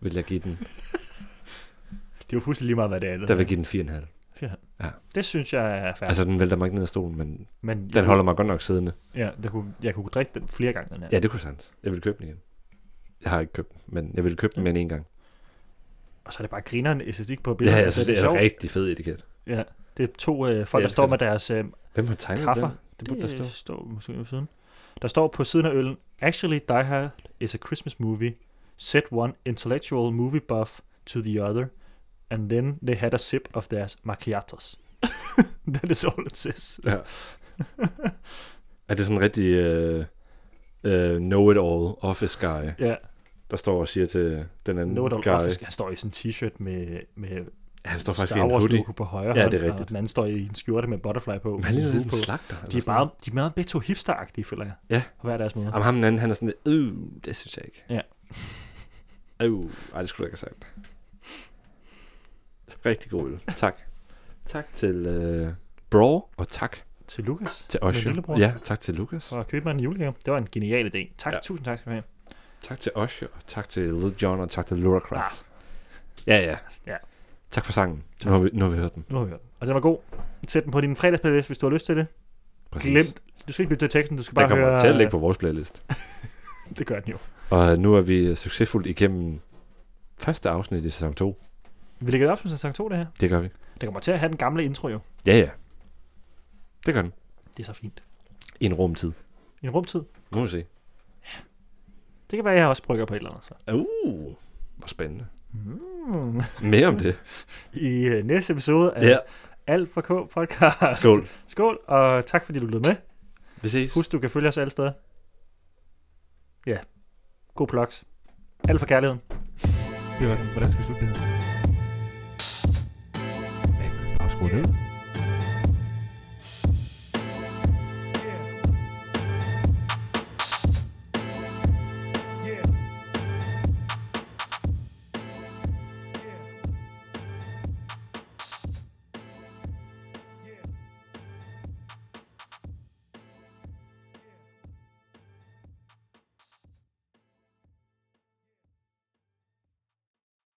Speaker 3: vil jeg give den.
Speaker 2: Det er jo fuldstændig lige meget, hvad det er.
Speaker 3: Der vil jeg give den 4,5.
Speaker 2: Det synes jeg er færdigt.
Speaker 3: Altså, den vælter mig ikke ned af stolen, men
Speaker 2: Men
Speaker 3: den holder mig godt nok siddende.
Speaker 2: Ja, der kunne, jeg kunne drikke den flere gange, den her.
Speaker 3: Ja, det kunne sandt. Jeg vil købe den igen. Jeg har ikke købt den, men jeg vil købe den, men en gang.
Speaker 2: Og så er det bare grineren æstetik på
Speaker 3: Ja,
Speaker 2: billedet.
Speaker 3: jeg synes, det er en rigtig fed etiket.
Speaker 2: Ja, det er to øh, folk,
Speaker 3: Jeg
Speaker 2: der står
Speaker 3: elsker
Speaker 2: med deres... Øh,
Speaker 3: Hvem har tegnet
Speaker 2: Kaffer.
Speaker 3: den? Det burde der stå.
Speaker 2: det står måske på siden. Der står på siden af øllen, Actually, Die Hard is a Christmas movie. Set one intellectual movie buff to the other. And then they had a sip of theirs macchiatos. That is all it says.
Speaker 3: Ja. er det sådan en rigtig øh, øh, know-it-all office guy,
Speaker 2: Ja,
Speaker 3: der står og siger til den anden
Speaker 2: no
Speaker 3: guy?
Speaker 2: office. Han står i sådan en t-shirt med, med
Speaker 3: Ja, han står faktisk i
Speaker 2: Star
Speaker 3: en
Speaker 2: Wars
Speaker 3: hoodie.
Speaker 2: logo på højre
Speaker 3: Ja,
Speaker 2: hånd,
Speaker 3: det
Speaker 2: og
Speaker 3: er rigtigt.
Speaker 2: den anden står i en skjorte med butterfly på.
Speaker 3: Men han ligner
Speaker 2: med
Speaker 3: lidt
Speaker 2: hue
Speaker 3: en
Speaker 2: på.
Speaker 3: slagter. eller
Speaker 2: De er
Speaker 3: sådan
Speaker 2: meget,
Speaker 3: noget.
Speaker 2: de er meget begge to hipsteragtige, føler jeg.
Speaker 3: Ja.
Speaker 2: På hver deres måde.
Speaker 3: Jamen ham den anden, han er sådan lidt, øh, det synes jeg ikke.
Speaker 2: Ja.
Speaker 3: Øh, ej, det skulle jeg ikke have sagt. Rigtig god øl. Tak. tak til øh, Braw, og tak
Speaker 2: Til Lukas.
Speaker 3: til
Speaker 2: min
Speaker 3: Osher.
Speaker 2: lillebror.
Speaker 3: Ja, tak til Lukas.
Speaker 2: For at købe mig en julegave. Det var en genial idé. Tak,
Speaker 3: Ja.
Speaker 2: ja. tusind tak skal du have.
Speaker 3: Tak til Osher, og tak til Little John, og tak til Laura Kratz. Ja, ja.
Speaker 2: Ja.
Speaker 3: Tak for sangen. Nu har vi, nu har vi hørt den.
Speaker 2: Nu har vi hørt den. Og den var god. Sæt den på din fredagsplaylist, hvis du har lyst til det.
Speaker 3: Præcis.
Speaker 2: Glem. Du skal ikke lytte til teksten, du skal
Speaker 3: Den
Speaker 2: bare
Speaker 3: kommer
Speaker 2: høre...
Speaker 3: til at ligge på vores playlist.
Speaker 2: Det gør den jo.
Speaker 3: Og øh, nu er vi succesfuldt igennem første afsnit i sæson 2.
Speaker 2: Vi lægger det op som sæson 2, det her.
Speaker 3: Det gør vi.
Speaker 2: Det kommer til at have den gamle intro jo.
Speaker 3: Ja, ja. Det gør den.
Speaker 2: Det er så fint.
Speaker 3: I en rumtid.
Speaker 2: I en rumtid.
Speaker 3: Nu må vi se.
Speaker 2: Det kan være, at jeg også brygger på et eller andet. Så.
Speaker 3: Uh, hvor spændende.
Speaker 2: Mm.
Speaker 3: Mere om det.
Speaker 2: I øh, næste episode af Alt for K podcast.
Speaker 3: Skål.
Speaker 2: Skål, og tak fordi du lyttede med.
Speaker 3: Vi ses.
Speaker 2: Husk, du kan følge os alle steder. Ja. God plugs. Alt for kærligheden. Det var den. Hvordan skal vi slutte det her?
Speaker 3: Afskru ned.